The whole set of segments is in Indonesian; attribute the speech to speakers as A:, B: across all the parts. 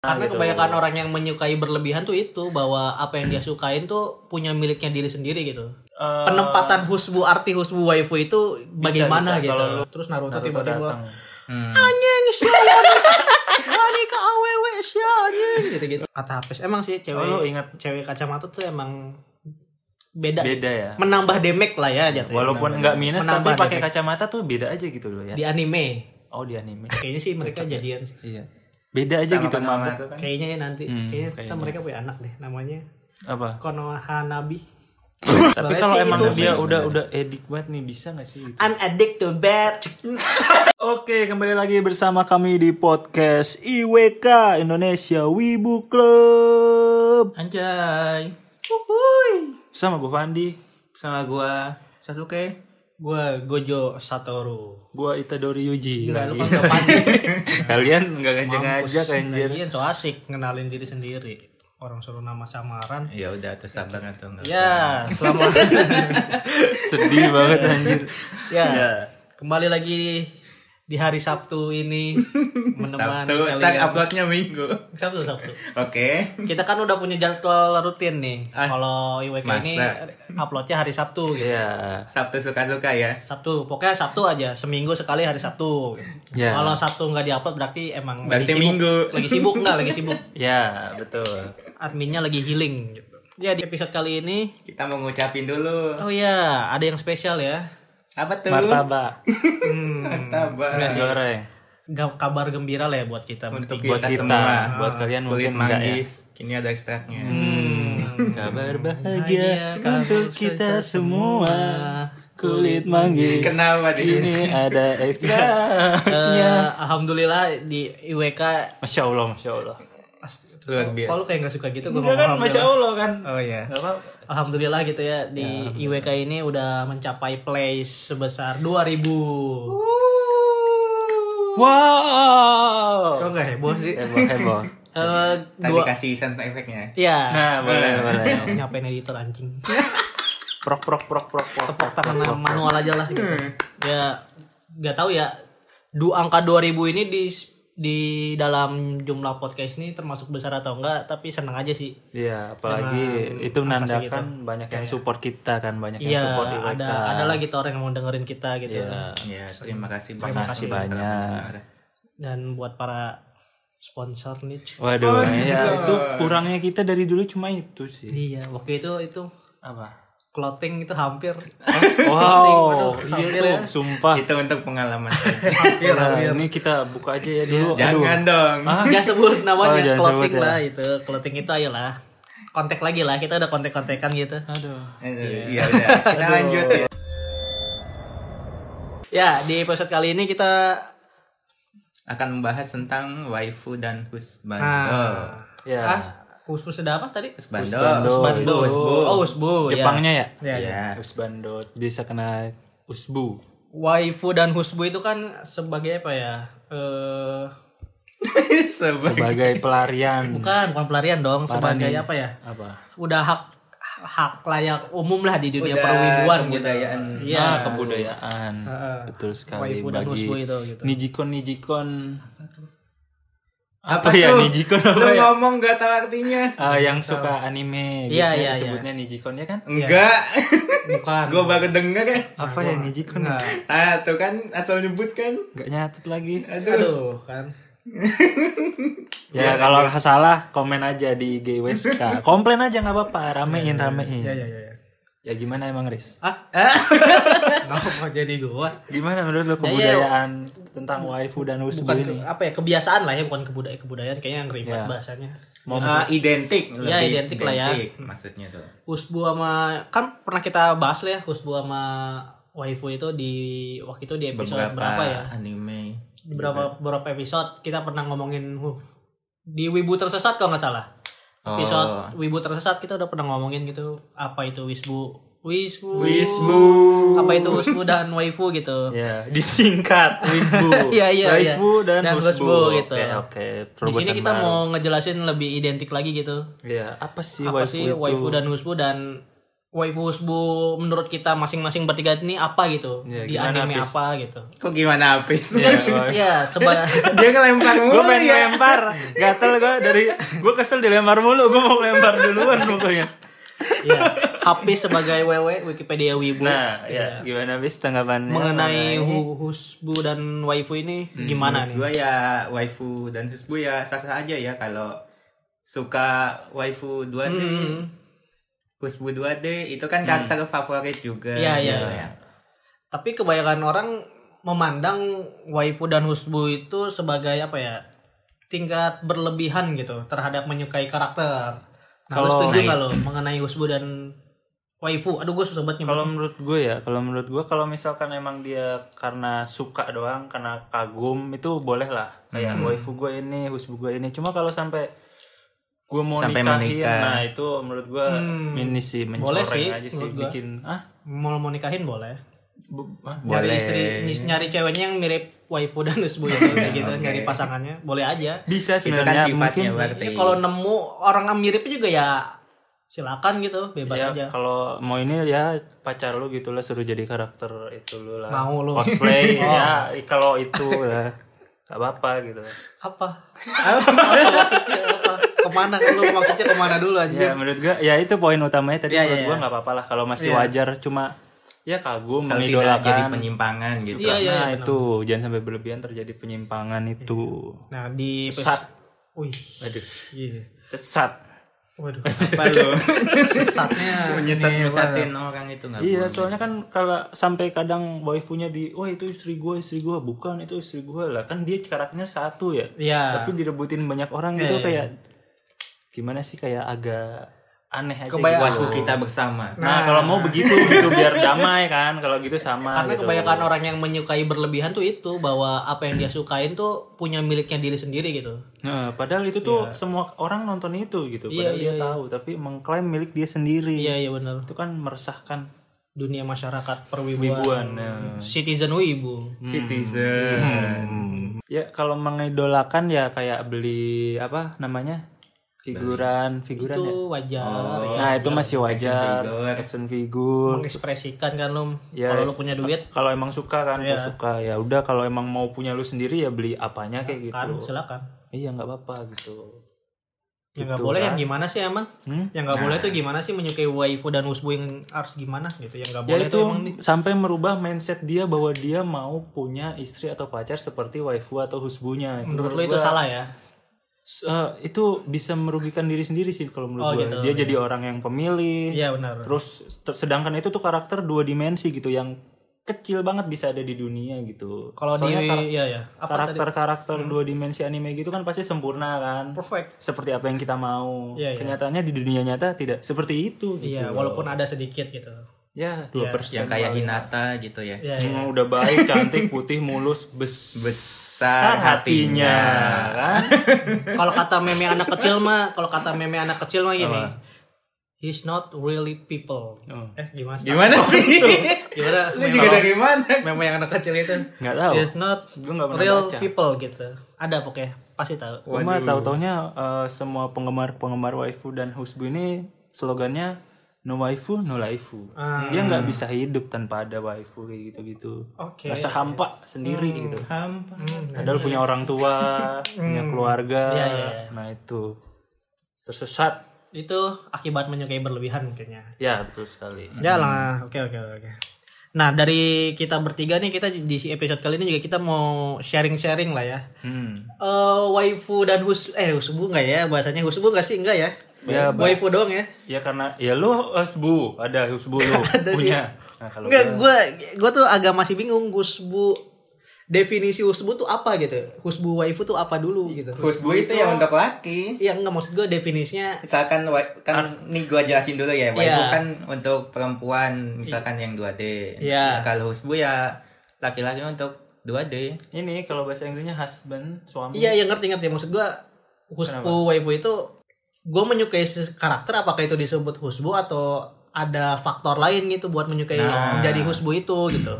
A: Karena
B: gitu.
A: kebanyakan orang yang menyukai berlebihan tuh itu bahwa apa yang dia sukain tuh punya miliknya diri sendiri gitu.
B: Eh,
A: Penempatan husbu arti husbu waifu itu bagaimana
B: bisa.
A: gitu.
B: Kalau lu-
A: Terus Naruto,
B: Naruto
A: tiba-tiba
B: datang.
C: Hmm.
A: anjing sialan. Wani ke awewe sia anjing gitu-gitu. Kata Hapes emang sih cewek
B: Oh, lu ingat.
A: cewek kacamata tuh emang beda.
B: beda ya
A: Menambah damage lah ya jatuhnya.
B: walaupun nggak minus
A: Menambah
B: tapi pakai
A: damage.
B: kacamata tuh beda aja gitu loh ya
A: di anime.
B: oh di anime
A: Kayaknya sih mereka jadian sih.
C: Iya.
B: beda aja
C: Sama
B: gitu
C: nama
B: mabuk
C: itu kan.
A: Kayaknya ya nanti
B: Hmm,
A: kayaknya, kita
B: kayaknya.
A: mereka punya anak deh namanya
B: apa
A: Konoha Nabi.
B: tapi
A: Sebenarnya
B: kalau
A: sih
B: emang
A: itu.
B: dia udah udah edik banget nih bisa nggak sih gitu?
A: I'm addicted to bad.
B: Oke, kembali lagi bersama kami di podcast IWK Indonesia Wibu Club.
C: Anjay.
B: Sama gue Fandi,
C: Sama gua Sasuke.
A: Gue Gojo Satoru. Iya.
B: gue Itadori Yuji.
A: Enggak
B: lagi.
A: lupa lupa
B: Kalian nggak ngajeng ngajak
A: Kalian
B: anjir.
A: Nah, iya, so asik ngenalin diri sendiri. Orang suruh nama samaran.
C: Ya udah tuh sabar atau enggak? Iya,
A: Ya, selamat.
B: Sedih banget anjir.
A: ya.
C: Iya.
A: Kembali lagi di hari Sabtu ini menemani
C: Sabtu, tak
A: kalian.
C: uploadnya minggu.
A: Sabtu, Sabtu.
C: Oke.
A: Kita kan udah punya jadwal rutin nih.
C: Ah,
A: Kalau IWK ini
C: masa?
A: uploadnya hari Sabtu gitu.
B: Iya.
C: Sabtu suka-suka ya.
A: Sabtu, pokoknya Sabtu aja, seminggu sekali hari Sabtu.
B: Ya.
A: Kalau Sabtu nggak diupload berarti emang
C: Berarti minggu.
A: lagi sibuk nggak, lagi sibuk.
B: Ya, betul.
A: Adminnya lagi healing. Gitu. Ya di episode kali ini,
C: Kita mau ngucapin dulu.
A: oh ya ada yang spesial ya,
C: Apa tuh?
B: Martabak,
A: hmm,
C: Martabak.
B: nasi goreng.
A: ga- kabar gembira lah ya buat kita.
C: Untuk
B: Buat
C: kita,
B: kita,
C: semua.
B: buat kalian
C: Kulit
B: mungkin enggak ya.
C: manggis. Kini ada ekstraknya.
A: Hmm. iya kan.
B: Kabar
A: Bahagia
B: bahagia
A: kamu
B: untuk kita semua. Kulit manggis.
C: Kenapa di sini?
B: Ini ada ekstraknya.
A: Eh, Alhamdulillah di IWK.
B: Masya Allah, Masya Allah.
C: Luar biasa.
A: Kalau kayak nggak suka gitu, gue
B: Enggak kan, Masya Allah kan.
C: Oh
A: iya.
C: ya.
B: Gak apa
A: Alhamdulillah gitu ya di IWK ini udah mencapai place sebesar 2000.
B: Wow.
A: Kok nggak heboh sih?
B: Heboh, heboh.
A: Eh
C: Tadi
A: dua
C: kasih sound efeknya.
A: ya
B: kan. Nah, boleh, boleh.
A: nyapain editor anjing.
B: Prok, prok, prok, prok, prok.
A: Tepuk tangan manual aja lah gitu.
B: Hmm.
A: Ya nggak tahu ya. Du angka 2000 ini di di dalam jumlah podcast ini termasuk besar atau enggak tapi seneng aja sih
B: Iya, apalagi
A: Dengan
B: itu
A: apa sih
B: menandakan
A: gitu?
B: banyak yang support kita kan, banyak yang
A: iya
B: support IWK.
A: ada ada lagi tuh orang yang mau dengerin kita gitu
B: Iya.
C: Ya, terima kasih banyak.
B: Terima kasih banyak.
A: dan buat para sponsor nih Oh,
B: Waduh, ya itu kurangnya kita dari dulu cuma itu sih.
A: iya waktu itu itu
B: Apa?
A: clothing itu hampir
B: Wow,
A: hampir ya.
B: iya
A: Iya,
B: tuh, sumpah.
C: Itu untuk pengalaman.
B: Nah, ini kita buka aja ya dulu. Aduh.
C: Jangan dong.
B: Ah,
A: Jangan sebut
B: Oh,
A: namanya
B: jangan
A: clothing
B: sebut ya.
A: lah itu. Clothing itu ayolah. Kontak lagi lah, kita udah kontak-kontakan gitu.
B: aduh.
C: Aduh, Iya udah. Kita lanjut ya.
A: Ya, di episode kali ini kita
C: akan membahas tentang waifu dan husband.
A: nah,
B: Ya.
A: ah, Usbu sudah apa tadi?
C: Husbando.
B: Husbando.
C: Husbando.
A: Usbu.
C: Husbu.
A: Oh, Usbu.
B: Jepangnya ya?
A: Ya. ya, ya.
C: Ya.
B: Usbando bisa kena usbu.
A: Waifu dan Husbu itu kan sebagai apa ya? Eh,
C: Sebagai
B: sebagai pelarian
A: bukan, bukan pelarian dong,
B: Parah
A: sebagai
B: nih.
A: apa ya?
B: apa?
A: Udah hak hak layak umum lah di dunia
C: Udah
A: perwibuan gitu.
C: kebudayaan.
A: Iya.
B: Ah, kebudayaan.
A: Heeh.
B: Betul sekali
A: Waifu dan
B: bagi
A: husbu itu, gitu.
B: Nijikon Nijikon apa, ya
C: tuh?
B: Nijikon
C: Lu
B: apa ya?
C: ngomong gak tahu artinya.
A: Ya.
B: Ah, yang suka anime
A: Iya,
B: biasanya
A: iya,
B: disebutnya Nijikon ya kan?
C: Enggak.
A: Bukan.
C: Gue baru denger ya.
B: Apa ya Nijikon?
A: Nah,
C: Ah, tuh kan asal nyebut kan.
B: Gak nyatet lagi.
C: Aduh.
A: aduh, kan.
B: Ya kalau salah komen aja di IG WSK. Komplain aja nggak apa-apa, ramein ramein.
A: Ya, ya, ya. ya.
B: Ya gimana emang Riz?
A: Ah, mau jadi gua.
B: Gimana menurut lo kebudayaan tentang waifu dan husbu
A: Bukan
B: ini?
A: ke- apa ya kebiasaan lah ya, bukan kebudayaan kebudayaan kayaknya yang ribet
B: Ya.
A: bahasanya.
C: Ah, identik.
A: Iya,
C: lebih
A: identik lah ya.
C: Maksudnya tuh.
A: Husbu sama kan pernah kita bahas lah ya Husbu sama waifu itu di waktu itu di episode
C: Beberapa
A: berapa ya?
C: anime.
A: Di berapa beberapa episode kita pernah ngomongin huh, di Wibu tersesat kalau nggak salah.
C: Oh.
A: Episode Wibu tersesat kita udah pernah ngomongin gitu apa itu Wisbu. Wisbu.
C: Wisbu.
A: Apa itu Husbu dan waifu gitu.
B: Ya, disingkat Wisbu.
A: Iya, iya,
B: Waifu
A: iya.
B: dan,
A: Dan
B: Husbu.
A: Husbu gitu.
B: Oke, oke.
A: Di sini
B: Terobosan
A: kita
B: baru.
A: mau ngejelasin lebih identik lagi gitu.
B: Iya, apa sih
A: apa
B: waifu
A: sih
B: itu?
A: waifu dan husbu dan waifu husbu menurut kita masing-masing bertiga ini apa gitu
B: Ya,
A: di
B: gimana,
A: anime
B: Fis?
A: apa gitu
C: Kok gimana Apis?
A: ya seba
C: Dia ngelempar
B: gue
C: mulu
B: pengen
C: ya.
B: lempar gatel gue dari gue kesel dilempar mulu gue mau lempar duluan pokoknya
A: ya Hafiz sebagai wewe Wikipedia Wibu Iya.
B: nah ya gimana bis tanggapannya
A: mengenai
B: mengenai-
A: hu- husbu dan waifu ini
B: Hmm.
A: gimana nih
C: Gue ya waifu dan husbu ya sah-sah aja ya kalau suka waifu 2D,
A: Hmm.
C: husbu 2D itu kan karakter favorit juga.
A: Iya, iya.
C: gitu ya.
A: tapi kebanyakan orang memandang waifu dan husbu itu sebagai apa ya tingkat berlebihan gitu terhadap menyukai karakter nah, lu
B: Kalau-
A: setuju nggak lo mengenai husbu dan waifu aduh gue susah banget
B: kalau
A: nyebut
B: menurut gue ya kalau menurut gue kalau misalkan emang dia karena suka doang karena kagum itu boleh lah kayak waifu gue ini husbu gue ini cuma kalau sampai gue mau
C: Sampai
B: nikahin
C: menikah.
B: nah itu menurut gue
A: Hmm.
B: ini sih
A: Boleh
B: mencoreng
A: sih,
B: aja sih
A: menurut gua.
B: bikin ah,
A: mau mau nikahin boleh
B: bu- ah,
A: nyari
C: Boleh.
A: istri ny- nyari ceweknya yang mirip waifu dan husbu ya, kayak gitu
C: Oke.
A: nyari pasangannya boleh aja
B: bisa
C: Itu kan
B: sebenarnya
C: sifatnya
B: mungkin
C: berarti.
A: Ya, kalau nemu orang yang mirip juga ya silakan gitu bebas
C: Iya.
B: ya
A: aja
B: kalau mau ini ya pacar lu gitu lah suruh jadi karakter itu lu lah
A: Mau lu. Oh.
B: cosplay ya kalau itu ya gak apa-apa gitu
A: apa apa maksudnya apa kemana lu maksudnya kemana dulu
B: ya
A: aja
B: menurut gua ya itu poin utamanya tadi
A: Ya,
B: menurut
A: ya,
B: gua
A: ya.
B: nggak apa-apa lah kalau masih
A: Ya.
B: wajar cuma ya kagum
C: Kalau tidak jadi
B: mengidolakan
C: penyimpangan gitu.
A: Iya,
B: nah
A: iya, iya,
B: itu jangan sampai berlebihan terjadi penyimpangan itu
A: nah di
B: sesat
A: wih
B: aduh
A: iya.
B: sesat
A: waduh
C: Apa lu?
A: sesatnya
C: Menyesat
A: ini,
C: nyesatin orang itu nggak
B: Iya,
C: boleh.
B: soalnya kan kalau sampai kadang waifunya di, wah itu istri gua, istri gua bukan itu istri gua lah. Kan dia karakternya satu ya.
A: Iya.
B: Tapi direbutin banyak orang
A: Iya,
B: gitu
A: iya.
B: kayak gimana sih kayak agak aneh aja.
A: Kebayang-
B: gitu.
C: Waktu kita bersama.
B: Nah, kalau mau begitu gitu biar damai kan. Kalau gitu sama
A: karena
B: gitu.
A: kebanyakan orang yang menyukai berlebihan tuh itu bahwa apa yang dia sukain tuh punya miliknya diri sendiri gitu
B: Nah, padahal itu tuh semua orang nonton itu gitu.
A: Iya,
B: Padahal dia tahu, tapi mengklaim milik dia sendiri.
A: iya iya benar
B: Itu kan meresahkan
A: dunia masyarakat perwibuan
B: ribuan. Nah,
A: citizen wibu
C: Citizen.
B: Ya kalau mengidolakan ya kayak beli apa namanya figuran figuran
A: itu Oh, iya.
B: ya.
A: wajar
B: Nah itu masih wajar
C: figure.
B: action figure.
A: mengekspresikan kan lu
B: Ya.
A: kalau lu punya duit
B: Kalau emang suka kan
A: Iya.
B: gua suka ya udah kalau emang mau punya lu sendiri ya beli apanya kayak gitu.
A: kan silakan
B: Iya nggak apa-apa gitu.
A: yang nggak boleh
B: kan.
A: yang gimana sih emang
B: Hmm?
A: yang
B: Nah.
A: nggak boleh tuh gimana sih menyukai waifu dan husbu yang harus gimana gitu yang nggak
B: Ya
A: boleh
B: itu
A: tuh emang nih
B: sampai merubah mindset dia bahwa dia mau punya istri atau pacar seperti waifu atau husbunya. Itu
A: menurut lu itu salah ya
B: S- eh, itu bisa merugikan diri sendiri sih kalau menurut
A: Oh,
B: gua.
A: gitu,
B: Dia jadi orang yang pemilih.
A: iya benar
B: Terus ter- sedangkan itu tuh karakter dua dimensi gitu yang kecil banget bisa ada di dunia gitu.
A: kalau di
B: Soalnya kar-
A: iya ya apa Hmm.
B: karakter-karakter dua dimensi anime gitu kan pasti sempurna kan.
A: perfect
B: Seperti apa yang kita mau.
A: Iya, iya.
B: Kenyataannya di dunia nyata tidak seperti itu gitu.
A: iya walaupun ada sedikit gitu
B: Ya, 2%
C: Yang kayak Hinata gitu ya.
A: iya iya.
B: Hmm, udah baik, cantik, putih, mulus, bes- besar hatinya, kan?
A: kalau kata meme anak kecil mah kalau kata meme anak kecil mah gini he's not really people
B: Oh.
A: eh gimana sih?
C: Gimana sih?
A: gitu. gimana
C: Lu
A: meme,
C: juga dari mana?
A: meme yang anak kecil itu
B: Nggak tahu.
A: he's not
B: Gua nggak pernah
A: Iya. real
B: baca.
A: people gitu ada pokoknya pasti tahu
B: Gua mah tahu-taunya eh, semua penggemar-penggemar waifu dan husbu ini slogannya no waifu no laifu.
A: Ah.
B: Dia nggak bisa hidup tanpa ada waifu kayak gitu-gitu.
A: Oke. Hmm.
B: Rasa hampa sendiri gitu.
C: Hampa.
B: Padahal punya orang tua, punya keluarga.
A: Iya, iya, iya.
B: Nah, itu. Tersesat.
A: itu akibat menyukai berlebihan mungkinnya
B: Ya, betul sekali.
A: Ya lah, oke oke oke. Nah dari kita bertiga nih kita di episode kali ini juga kita mau sharing-sharing lah ya.
B: Hmm.
A: Eh waifu dan hus eh husbu enggak ya bahasanya husbu enggak sih enggak ya?
B: Ya,
A: waifu doang ya.
B: Ya karena ya lu husbu, ada husbu lu punya. Nah, kalau
A: Enggak, gue gue tuh agak masih bingung husbu definisi husbu tuh apa gitu. Husbu waifu tuh apa dulu gitu.
C: Husbu itu yang untuk laki.
A: Iya enggak maksud gue definisinya
C: misalkan wa- kan nih gua jelasin dulu ya waifu
A: Iya.
C: kan untuk perempuan misalkan yang 2D
A: Iya.
C: Nah, kalau husbu ya laki-laki untuk 2D
B: ini kalau bahasa Inggrisnya husband, suami.
A: Iya, yang ngerti ngerti maksud gua husbu waifu itu gua menyukai se- karakter apakah itu disebut
B: Nah.
A: husbu atau ada faktor lain gitu buat menyukai menjadi husbu itu gitu.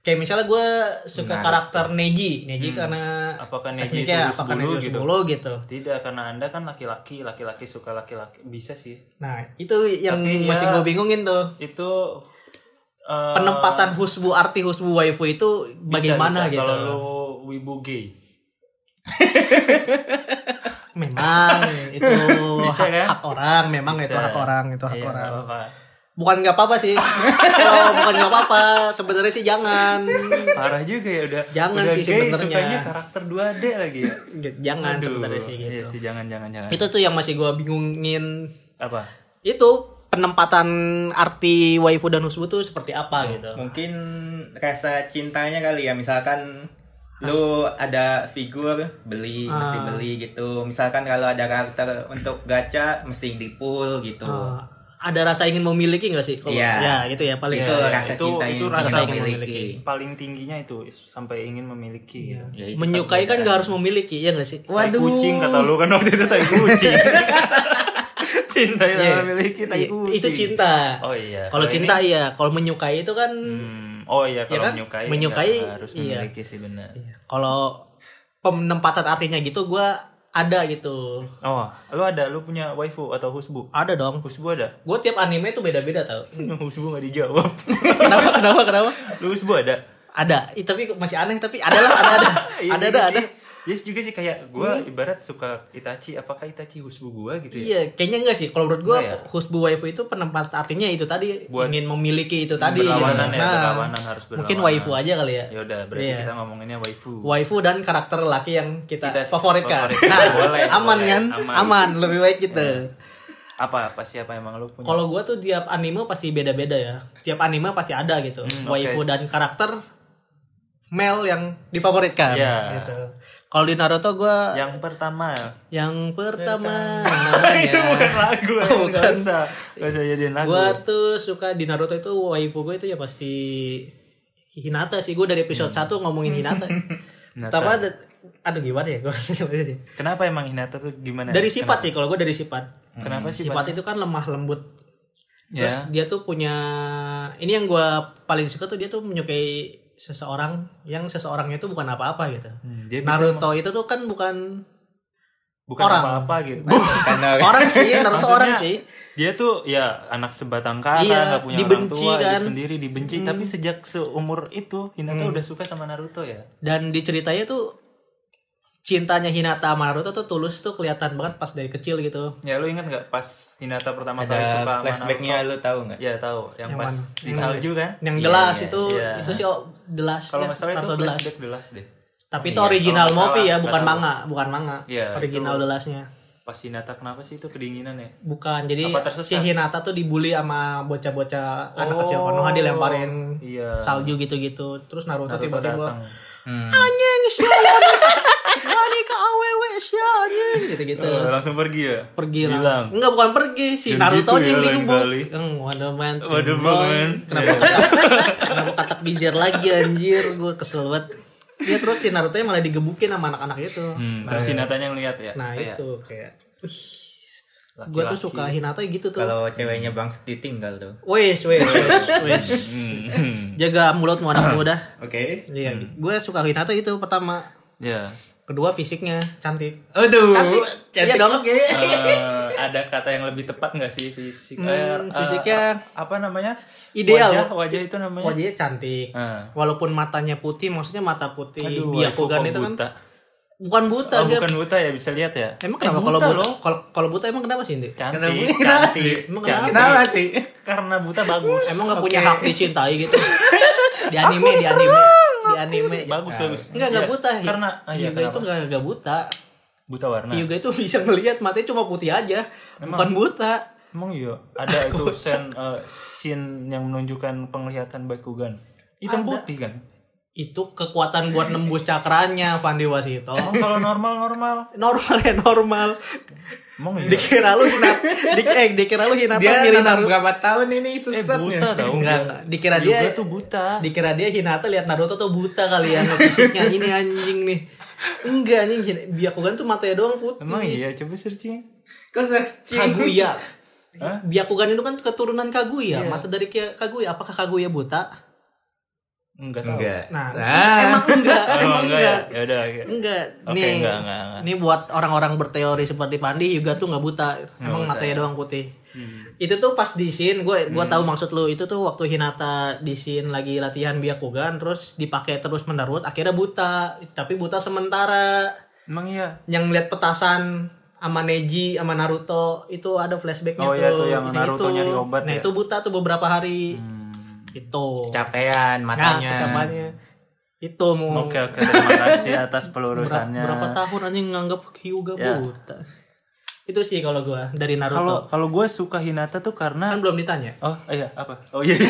A: kayak misalnya gue suka
C: Menarik.
A: karakter Neji Neji karena
B: Hmm. Apakah Neji
A: tekniknya
B: tulus
A: apakah
B: dulu
A: Neji tulus
B: gitu?
A: dulu gitu
B: Tidak, karena Anda kan laki-laki, laki-laki suka laki-laki. Bisa sih.
A: nah itu yang
B: Tapi
A: masih
B: ya-
A: gue bingungin tuh
B: Itu eh,
A: penempatan husbu arti husbu waifu itu
B: bisa,
A: bagaimana
B: bisa.
A: gitu
B: Kalau lu wibu gay.
A: memang itu
B: Bisa,
A: hak,
B: kan?
A: hak orang memang itu
B: Bisa.
A: hak orang itu hak
B: Iya,
A: orang
B: nggak apa-apa.
A: bukan nggak apa-apa sih Kalau bukan nggak apa-apa sebenarnya sih jangan
B: Parah juga ya udah.
A: Jangan
B: udah
A: sih
B: gay,
A: sebenarnya.
B: sukanya karakter 2D lagi ya.
A: jangan
B: Aduh,
A: sebenarnya sih gitu
B: Iya sih, jangan jangan jangan.
A: itu tuh yang masih gue bingungin
B: Apa?
A: itu penempatan arti waifu dan husbu tuh seperti
B: Hmm.
A: apa gitu
C: mungkin rasa cintanya kali ya misalkan lu ada figur beli mesti
A: Ah.
C: beli gitu misalkan kalau ada karakter untuk gacha mesti di pull gitu
A: Uh, ada rasa ingin memiliki nggak sih kalau
C: Iya.
A: ya gitu ya paling
C: itu
B: Iya,
C: rasa
B: itu-
C: cinta
B: itu
C: yang
B: rasa
C: bisa
A: ingin
C: memiliki
B: Paling tingginya itu sampai ingin memiliki. gitu.
C: Ya, itu
A: menyukai kan
C: perbedaan.
A: nggak harus memiliki ya nggak sih
B: Tai
C: waduh
B: kucing kata lu kan waktu itu tai kucing. cinta yang yeah. memiliki tai
A: Iya,
B: kucing.
A: itu cinta
B: Oh iya.
A: kalau
B: ini-
A: cinta iya kalau menyukai itu kan
B: Hmm, oh iya kalau
A: kan?
B: menyukai.
A: Menyukai,
B: nggak harus
A: iya.
B: memiliki sih benar.
A: kalau penempatan artinya gitu gua ada gitu
B: Oh, lu ada lu punya waifu atau husbu?
A: ada dong
B: Husbu ada?
A: gue tiap anime tuh beda-beda tau
B: husbu nggak dijawab.
A: kenapa kenapa kenapa
B: lu husbu ada?
A: ada Ih, tapi masih aneh tapi ada lah ada ada
B: Iya
A: ada
B: juga
A: ada, ada.
B: sih. Yes juga sih kayak gue ibarat suka Itachi, apakah Itachi husbu gue gitu ya?
A: Iya, kayaknya enggak sih. Kalau menurut gua,
B: Enggak
A: husbu waifu itu penempatan artinya itu tadi
B: Iya. Buat
A: ingin memiliki itu tadi.
B: berlawanan
A: gitu.
B: ya, berlawanan, harus
A: Mungkin
B: berlawanan.
A: waifu aja kali ya.
B: Ya udah berarti
A: Iya.
B: kita ngomonginnya waifu.
A: Waifu dan karakter laki yang kita,
B: Kita
A: favoritkan.
B: favoritkan.
A: Nah,
B: Boleh,
A: aman
B: boleh.
A: kan?
B: Aman. Iya.
A: Aman. lebih baik gitu.
B: Apa apa siapa emang lu punya?
A: Kalau gua tuh tiap anime pasti beda-beda ya. Tiap anime pasti ada gitu.
B: Hmm,
A: waifu
B: oke.
A: dan karakter male yang difavoritkan
B: Iya.
A: gitu. Kalau di Naruto gua yang,
B: yang pertama
A: pertama
B: itu
A: namanya
B: bukan lagu ya.
A: Bukan.
B: nggak usah nggak usah jadiin lagu
A: gue tuh suka di Naruto itu waifu gue itu ya pasti Hinata sih gue dari episode 1 ngomongin Hinata
B: Hmm. Hinata. Nah,
A: tapi ada aduh gimana ya gue
B: kenapa emang Hinata tuh gimana ya?
A: dari sifat sih kalau gue dari sifat
B: kenapa sih
A: sifat itu kan lemah lembut terus
B: ya
A: dia tuh punya ini yang gue paling suka tuh dia tuh menyukai seseorang yang seseorangnya itu bukan apa-apa gitu
B: Hmm, dia bisa
A: Naruto itu tuh kan bukan
B: bukan
A: orang.
B: apa-apa gitu
C: karena
A: orang sih Naruto
B: Maksudnya,
A: orang sih
B: dia tuh ya anak sebatang kara
A: Iya,
B: nggak punya
A: dibenci
B: orang tua dia
A: kan. Mm.
B: sendiri dibenci tapi sejak seumur itu Hinata udah suka sama Naruto ya
A: dan di ceritanya tuh cintanya Hinata sama Naruto tuh tulus tuh kelihatan banget pas dari kecil gitu
B: ya lu ingat nggak pas Hinata pertama
C: ada
B: kali suka sama
C: flashbacknya
B: Naruto
C: lu tahu nggak
B: ya tahu yang, pas
A: mana?
B: di salju kan
A: yang jelas
C: iya,
A: itu
B: iya.
A: itu sih oh, jelas ya,
B: kalau nggak salah itu
A: Naruto jelas.
B: flashback delas deh
A: tapi itu
B: Iya,
A: original
B: kalau nggak
A: movie
B: salah,
A: ya
B: nggak
A: bukan
B: tahu.
A: manga bukan manga
B: Iya,
A: original
B: itu-
A: jelasnya
B: pas Hinata kenapa sih itu kedinginan ya
A: bukan jadi
B: Apa tersesat?
A: si Hinata tuh dibully sama bocah-bocah anak
B: Oh,
A: kecil Konoha dilemparin
B: iya.
A: salju gitu-gitu terus Naruto,
B: Naruto datang.
A: tiba-tiba anjing sial ini ke awewe sial anjing gitu-gitu
B: Oh, langsung pergi ya
A: pergi
B: Hilang.
A: lah. Enggak bukan pergi si
B: Yang
A: Naruto
B: gitu
A: aja yang
B: ya, lain
A: digebuk.
B: kali.
A: Eng, Wonder Man. tuh,
B: Waduh Iya. banget.
A: boy. Kenapa katak, kenapa katak bizar lagi anjir? Gue kesel banget. Dia terus si Naruto nya malah digebukin sama anak-anak itu.
B: Hmm, terus Hinatanya ngeliat ya.
A: iya. Nah,
B: Kayak
A: itu kayak
B: laki-laki.
A: gue tuh suka Hinata gitu tuh.
C: kalau ceweknya bang ditinggal tuh
A: Wes, wes, wes, wes.
B: Hmm,
A: Jaga mulutmu anak muda.
C: oke
A: Iya, gue suka Hinata itu pertama.
B: Ya.
A: Kedua fisiknya cantik.
C: aduh
A: Cantik. Iya dong.
C: oke
B: Eh, ada kata yang lebih tepat nggak sih fisik?
A: Hmm,
B: eh, eh,
A: fisiknya
B: apa namanya?
A: ideal.
B: Wajah, wajah itu namanya.
A: Wajahnya cantik.
B: Eh.
A: Walaupun matanya putih, maksudnya mata putih
B: Aduh,
A: Byakugan
B: waifu kok
A: itu kan
B: buta.
A: bukan buta
B: Oh,
A: dia
B: bukan buta ya bisa lihat ya.
A: Emang
B: Eh,
A: kenapa kalau buta?
B: loh.
A: Kalau kalau buta emang kenapa sih, Ndi?
B: Cantik,
C: Kenapa
B: cantik,
C: sih?
A: Emang
B: cantik.
C: kenapa sih
B: Karena buta bagus.
A: Emang nggak punya hak dicintai gitu. di anime, di anime, di anime.
B: bagus bagus.
A: Enggak enggak
B: Iya,
A: buta.
B: Karena ah, iya,
A: Hyuga itu
B: kenapa? Nah.
A: enggak Iya. enggak buta.
B: buta warna.
A: Hyuga itu bisa ngelihat matanya cuma putih aja, bukan buta.
B: Emang iya, ada itu sen eh, scene yang menunjukkan penglihatan Bakugan. Hitam putih kan?
A: Itu kekuatan buat nembus cakranya Fandi Wasito.
B: Emang kalau normal normal.
A: Normal ya normal.
B: Emang iya.
A: Dikira lu hinat, dik, eh, dikira lu hinata
C: dia
A: milih
C: nanam
A: Naruto.
C: berapa tahun
B: Eh
C: ini susah ya?
B: buta tau
A: Enggak,
B: Iya, dia.
A: enggak. Dikira
B: Hyuga
A: dia-
B: tuh buta.
A: Dikira dia Hinata lihat Naruto tuh buta kali ya sama fisiknya ini anjing nih. Enggak anjing, Hin- Byakugan tuh matanya doang putih.
B: Emang iya, coba searching.
C: kok searching
A: Kaguya.
B: Hah?
A: Byakugan itu kan keturunan Kaguya, mata dari Ki- Kaguya. Apakah Kaguya buta?
B: Enggak tahu.
C: Enggak.
A: Nah,
C: Ah.
A: emang enggak,
B: Oh,
A: emang
B: enggak ya?
A: enggak.
B: Ya udah. oke.
A: Enggak.
B: Oke,
A: nih,
B: enggak, enggak, enggak.
A: Nih buat orang-orang berteori seperti Pandi juga tuh nggak buta. Emang matanya
B: ya.
A: doang putih.
B: Hmm.
A: Itu tuh pas di scene gue gua tahu maksud lu. Itu tuh waktu Hinata di scene lagi latihan Byakugan terus dipakai terus-menerus akhirnya buta. Tapi buta sementara.
B: Emang iya.
A: Yang lihat petasan sama Neji sama Naruto itu ada flashbacknya
B: Oh,
A: tuh.
B: iya, tuh yang
A: Ini
B: Naruto
A: itu.
B: nyari obat
A: Nah,
B: ya? Hmm.
A: itu buta tuh beberapa hari. Itu.
C: Capean
A: Nah,
C: matanya.
A: kecapannya. Itu mau
B: Oke oke terima kasih atas pelurusannya.
A: berapa tahun anjing nganggap Hyuga
B: Ya.
A: buta itu sih kalau gua dari Naruto
B: Kalau kalau gue suka Hinata tuh
A: kan
B: karena
A: belum ditanya
B: oh iya apa? Oh iya. iya.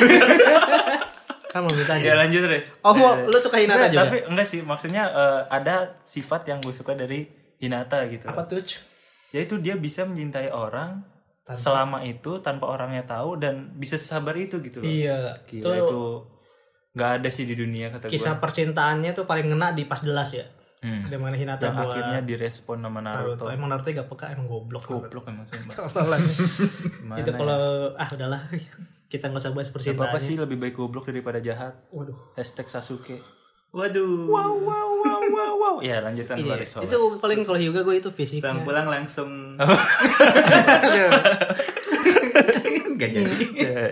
A: kan belum
B: ya
A: ditanya
B: lanjut deh.
A: oh mau- lu suka Hinata juga
B: Tapi enggak sih maksudnya eh, ada sifat yang gue suka dari Hinata gitu.
A: apa tuh Cu?
B: Yaitu dia bisa mencintai orang selama itu tanpa orangnya tahu dan bisa sesabar itu gitu loh.
A: iya
B: Gila,
A: Tuh
B: itu nggak ada sih di dunia kata gue.
A: kisah percintaannya tuh paling ngena di pas delas ya
B: Hmm.
A: dimana Hinata
B: Yang
A: buat
B: akhirnya direspon sama
A: Naruto
B: Naruto.
A: emang Naruto gak peka emang goblok
B: Goblok emang sumpah.
A: Tololan.
B: Gimana
A: itu
B: ya?
A: kalau ah udahlah kita nggak usah bahas
B: Gak apa-apa
A: percintaannya
B: sih lebih baik goblok daripada jahat.
A: waduh
B: Hashtag Sasuke. Waduh. Wow wow wow wow wow. Ya lanjutan
A: Iya,
B: baris
A: itu paling kalau Hyuga gue itu fisiknya
C: Pulang-pulang langsung. Enggak jadi.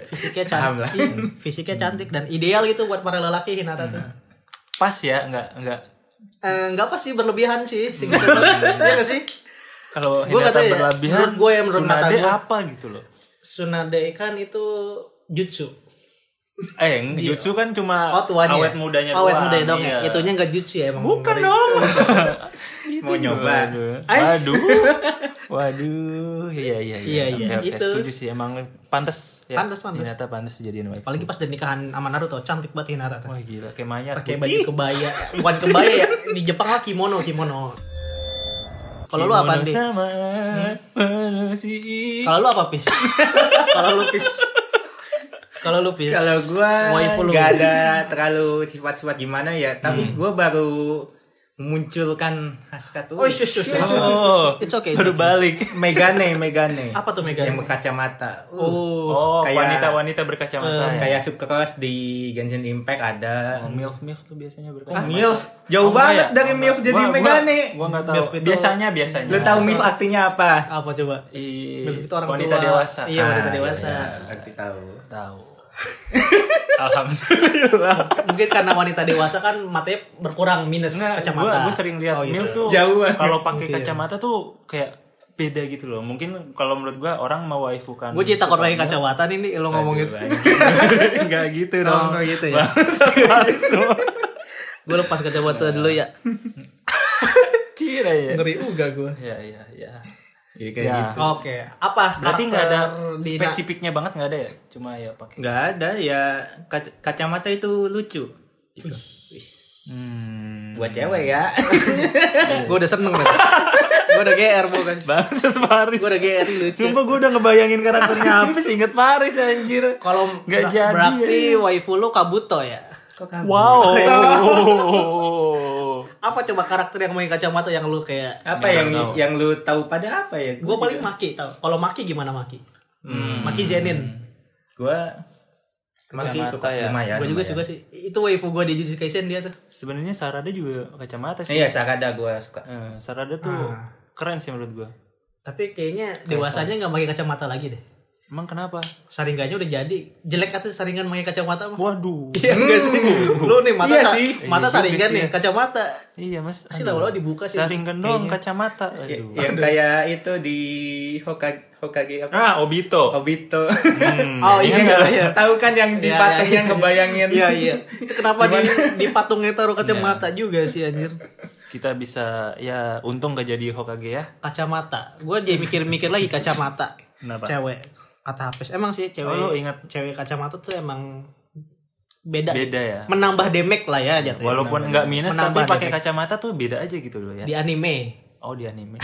A: fisiknya
C: Paham
A: cantik
C: lah.
A: fisiknya cantik dan ideal gitu buat para lelaki Hinata tuh
B: Pas ya nggak nggak.
A: Eh, nggak apa sih berlebihan sih singkat Iya nggak sih
B: Kalau
A: Gua
B: Hinata
A: kata ya, menurut
B: berlebihan,
A: gua ya, menurut mata
B: Tsunade
A: gua.
B: apa gitu loh.
A: Tsunade kan itu jutsu
B: Eh, yang Jutsu kan cuma
A: Iya. oh tuanya
B: awet mudanya
A: awet
B: doang.
A: muda dong ya
B: iya.
A: itunya nggak jutsu ya emang
B: Bukan dong. Gitu
C: Mau nyoba.
B: Waduh. Waduh. Iya iya iya.
A: Iya, iya.
B: Oke, oke,
A: Itu.
B: setuju sih emang pantas ya.
A: Pantes, pantes.
B: Hinata pantas jadian wife.
A: apalagi pas dari nikahan sama Naruto cantik banget Hinata tuh
B: Wah gila kayak mayat.
A: pakai
B: Putih.
A: baju kebaya bukan kebaya ya di Jepang lah kimono kimono kalau lu apa
B: Kimono
A: nih
B: Sama manusia.
A: kalau lu apa pis kalau lu pis kalau lu pis
C: Kalau gua
A: Waifu lu.
C: nggak ada terlalu sifat-sifat gimana ya,
B: Hmm.
C: tapi gua baru munculkan hasrat tuh.
A: oh shush, shush, shush.
B: Oh,
A: It's okay, it's okay.
B: baru balik.
C: Megane, Megane.
A: Apa tuh Megane?
C: Yang berkacamata.
A: oh
C: Uh,
A: Eh,
B: Oh,
C: kayak-
B: wanita-wanita berkacamata. ya.
C: Kayak Sucrose di Genshin Impact ada.
B: Oh, milf milf tuh biasanya
C: Ah,
B: berkacamata.
C: Milf,
B: Oh,
C: jauh
B: enggak
C: banget
B: ya?
C: dari
B: Oh,
C: Milf
B: enggak.
C: jadi
B: Gua- gua-
C: Megane.
B: Gua nggak tahu.
A: Milf itu-
B: Biasanya biasanya.
C: Lu tahu Milf artinya apa?
A: apa coba
B: Ih,
A: Milf itu orang
B: wanita
A: tua.
B: dewasa.
A: Iya, wanita
C: Ah,
A: dewasa.
C: iya, Arti tahu.
B: Tahu. Alhamdulillah.
A: mungkin karena wanita dewasa kan matanya berkurang minus
B: Enggak,
A: kacamata.
B: Nah, Gua, gua sering lihat
A: Oh, gitu.
B: milf tuh
C: Jauh banget.
B: kalau pakai
A: Mungkin.
B: kacamata tuh kayak beda gitu loh. Mungkin kalau menurut gua orang mau waifu kan.
A: Gua jadi takut pakai kacamata nih, nih lo ngomong gitu.
B: Enggak gitu
A: Oh,
B: dong.
A: nggak gitu ya?
B: Bangsa palsu.
A: Gua lepas kacamata dulu ya.
B: Cira ya.
A: Ngeri uga gua.
B: Ya ya
A: iya.
B: ya.
C: Jadi kayak
B: Ya.
C: gitu.
A: Oke, apa?
B: Berarti
A: karakter
B: nggak ada
A: di Na-
B: spesifiknya banget nggak ada ya? Cuma ya pakai.
C: Nggak ada ya kac- kacamata itu lucu. Gitu.
B: Hmm.
C: Buat cewek ya.
A: Gua udah seneng nih. gua udah GR bukan.
B: Bangsat Paris.
A: Gua udah GR lucu.
B: Sumpah gue udah ngebayangin karakternya apa sih inget Paris anjir.
A: Kalau ber-
B: Nggak jadi, iya,
A: berarti waifu lo Kabuto ya.
C: Kok kamu?
B: Wow.
A: Iya. Apa coba karakter yang main kacamata yang lu kayak
C: Apa yang yang lu tahu pada apa ya?
A: Gua paling Maki tau. Kalau Maki gimana Maki?
B: Hmm.
A: Maki Zenin.
C: gua Maki
B: Kacamata
C: suka
B: ya.
C: lumayan.
A: Gua juga suka
C: lumayan.
A: sih. Itu waifu gua di Jujutsu Kaisen dia tuh.
B: Sebenarnya Sarada juga kacamata sih.
C: Iya, Sakada gua suka.
B: Eh, Sarada tuh
A: Ah.
B: keren sih menurut gue.
A: Tapi kayaknya dewasanya nggak pakai kacamata lagi deh.
B: Emang kenapa?
A: Saringannya udah jadi. Jelek atau saringan pakai kacamata mah?
B: Waduh.
A: Iya enggak sih? Lu nih mata
C: Iya
A: sa-
C: sih.
A: mata
B: Hmm. Iya juga
A: saringan
B: sih
A: nih,
B: ya.
A: kacamata.
B: Iya mas.
A: Pasti
B: Aduh.
A: lama-lama dibuka sih. Iya,
B: Saringan doang kacamata.
C: Y-
B: Aduh.
C: yang kayak itu di Hokage, Hokage apa?
B: Ah Obito.
C: Obito.
B: Hmm.
A: Oh iya iya. iya.
C: Tahu kan yang di
A: Iya,
C: patung
A: iya.
C: yang ngebayangin.
A: Iya iya. Itu kenapa di di patungnya taruh kacamata
B: Iya.
A: juga sih anjir?
B: Kita bisa ya untung gak jadi Hokage ya.
A: Kacamata. Gua jadi mikir-mikir lagi kacamata.
B: Kenapa?
A: Cewek kata habis. Emang sih cewek.
B: Oh, lu ingat.
A: cewek kacamata tuh emang beda.
B: Beda ya.
A: Iya. Menambah damage lah ya jatuhnya.
B: Walaupun nggak minus
A: Menambah
B: tapi pakai
A: damage.
B: kacamata tuh beda aja gitu loh ya.
A: di anime.
B: Oh di anime.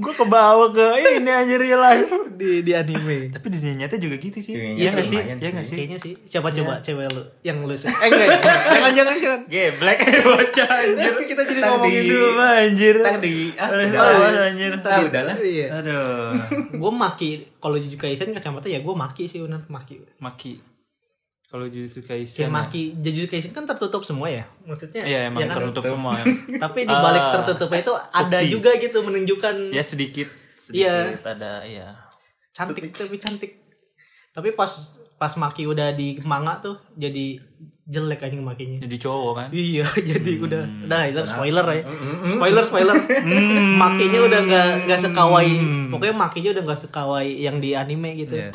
B: gue kebawa ke ini aja real life.
A: Di di anime.
B: Tapi dunia nyata juga gitu sih.
C: Dunia
B: Iya
C: nyata
B: nggak sih?
C: lumayan
B: Iya nggak sih?
A: Kayaknya sih. Siapa coba
B: Iya.
A: cewek lu yang lu suka? Eh enggak. jangan jangan jangan.
B: Geblek bocah anjir.
A: Kita jadi
C: Ntar
A: ngomongin
C: di-
B: Cuma anjir.
C: Ntar di ah,
B: Aduh,
C: udah lah.
B: awas, anjir.
C: Ntar udah lah.
A: Iya.
B: Aduh.
A: Gue maki kalau Jujutsu Kaisen kacamata ya gue maki sih benar maki.
B: Maki. Kalau Jujutsu Kaisen.
A: Kimaki Ya, Jujutsu Kaisen kan tertutup semua ya maksudnya
B: Iya, emang
A: ya kan?
B: tertutup semua.
A: tapi di balik
B: Ah,
A: tertutupnya itu ada
B: bukti.
A: juga gitu menunjukkan
B: ya sedikit
A: Iya.
B: sedikit ada ya.
A: cantik tapi cantik tapi pas pas Maki udah di manga tuh jadi jelek anjing makinya
B: Jadi cowok kan.
A: iya jadi udah udah itu spoiler ya
B: Hmm,
A: spoiler spoiler makinya udah nggak nggak sekawai pokoknya makinya udah nggak sekawai yang di anime gitu
B: Hmm. Iya.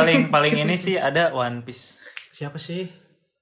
B: Paling paling ini sih ada One Piece.
A: siapa sih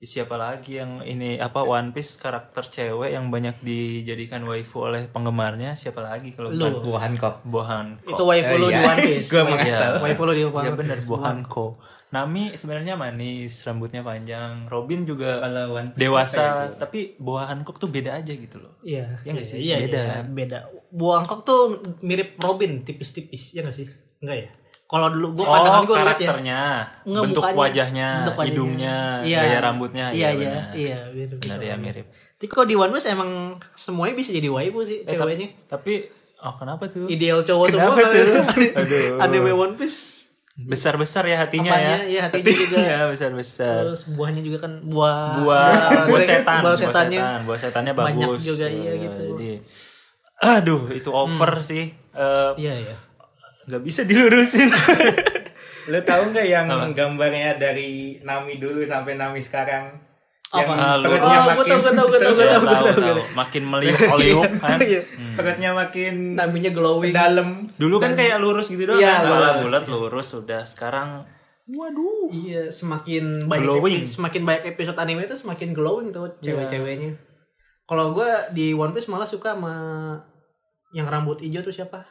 B: Siapa lagi yang ini apa One Piece karakter cewek yang banyak dijadikan waifu oleh penggemarnya? Siapa lagi kalau bukan
A: Lu.
C: Buahan kok.
B: Bohan?
A: itu waifu
B: Eh,
A: lu di
B: iya.
A: One Piece
C: Gue mengasal.
A: waifu lu di One
B: Ya
A: Piece
B: bener Bohanko. Nami sebenarnya manis, rambutnya panjang. Robin juga
C: Kalau One Piece
B: dewasa, tapi Bohanko tuh beda aja gitu loh.
A: Iya,
B: Iya nggak sih?
A: Iya,
B: Beda.
A: beda. beda. Buangkok tuh mirip Robin tipis-tipis, ya nggak sih? Enggak ya? Kalau dulu gua pandangan
B: Oh,
A: gua ngeliat ya.
B: karakternya,
A: Nggak,
B: bentuk,
A: mukanya.
B: wajahnya,
A: Bentuk wajahnya.
B: hidungnya,
A: Iya.
B: gaya rambutnya,
A: Iya,
B: iya,
A: iya,
B: benar.
A: iya, mirip.
B: Benar ya mirip.
A: Tapi kalau di One Piece emang semuanya bisa jadi waifu sih ceweknya.
B: Eh, Tapi oh kenapa tuh?
A: Ideal cowok
B: Kenapa
A: semua
B: tuh?
A: kan.
B: Aduh.
A: Anime One Piece.
B: Besar besar ya hatinya
A: Apanya?
B: ya.
A: Iya, hatinya juga.
B: besar besar.
A: Terus buahnya juga kan buah
B: Buah buah setan,
A: buah setannya.
B: buah, setan, buah setannya
A: Banyak
B: bagus.
A: juga, iya,
B: Eh,
A: gitu. Hmm.
B: jadi- aduh itu over sih. Eh,
A: Iya, iya.
B: nggak bisa dilurusin.
C: Lu tahu nggak yang gambarnya dari Nami dulu sampai Nami sekarang? Yang
A: Apa?
B: Ah, lu-
C: perutnya
A: Oh, gua
C: makin Gitu.
A: tau, gua tau, gua tau, gua tau,
B: Iya, tahu,
A: gua tau, gua
B: tahu.
A: tau.
B: Makin meliuk oliuk kan.
A: Iya.
C: perutnya makin
A: Namanya glowing.
C: dalam.
B: Dulu kan kayak lurus gitu doang.
A: Iya,
B: kan?
A: lurus.
B: Awalnya bulat lurus udah sekarang waduh
A: Iya, semakin banyak
B: Glowing. Iya.
A: epi- semakin banyak episode anime itu semakin glowing tuh cewek-ceweknya. Kalau gue di One Piece malah suka sama yang rambut hijau tuh siapa?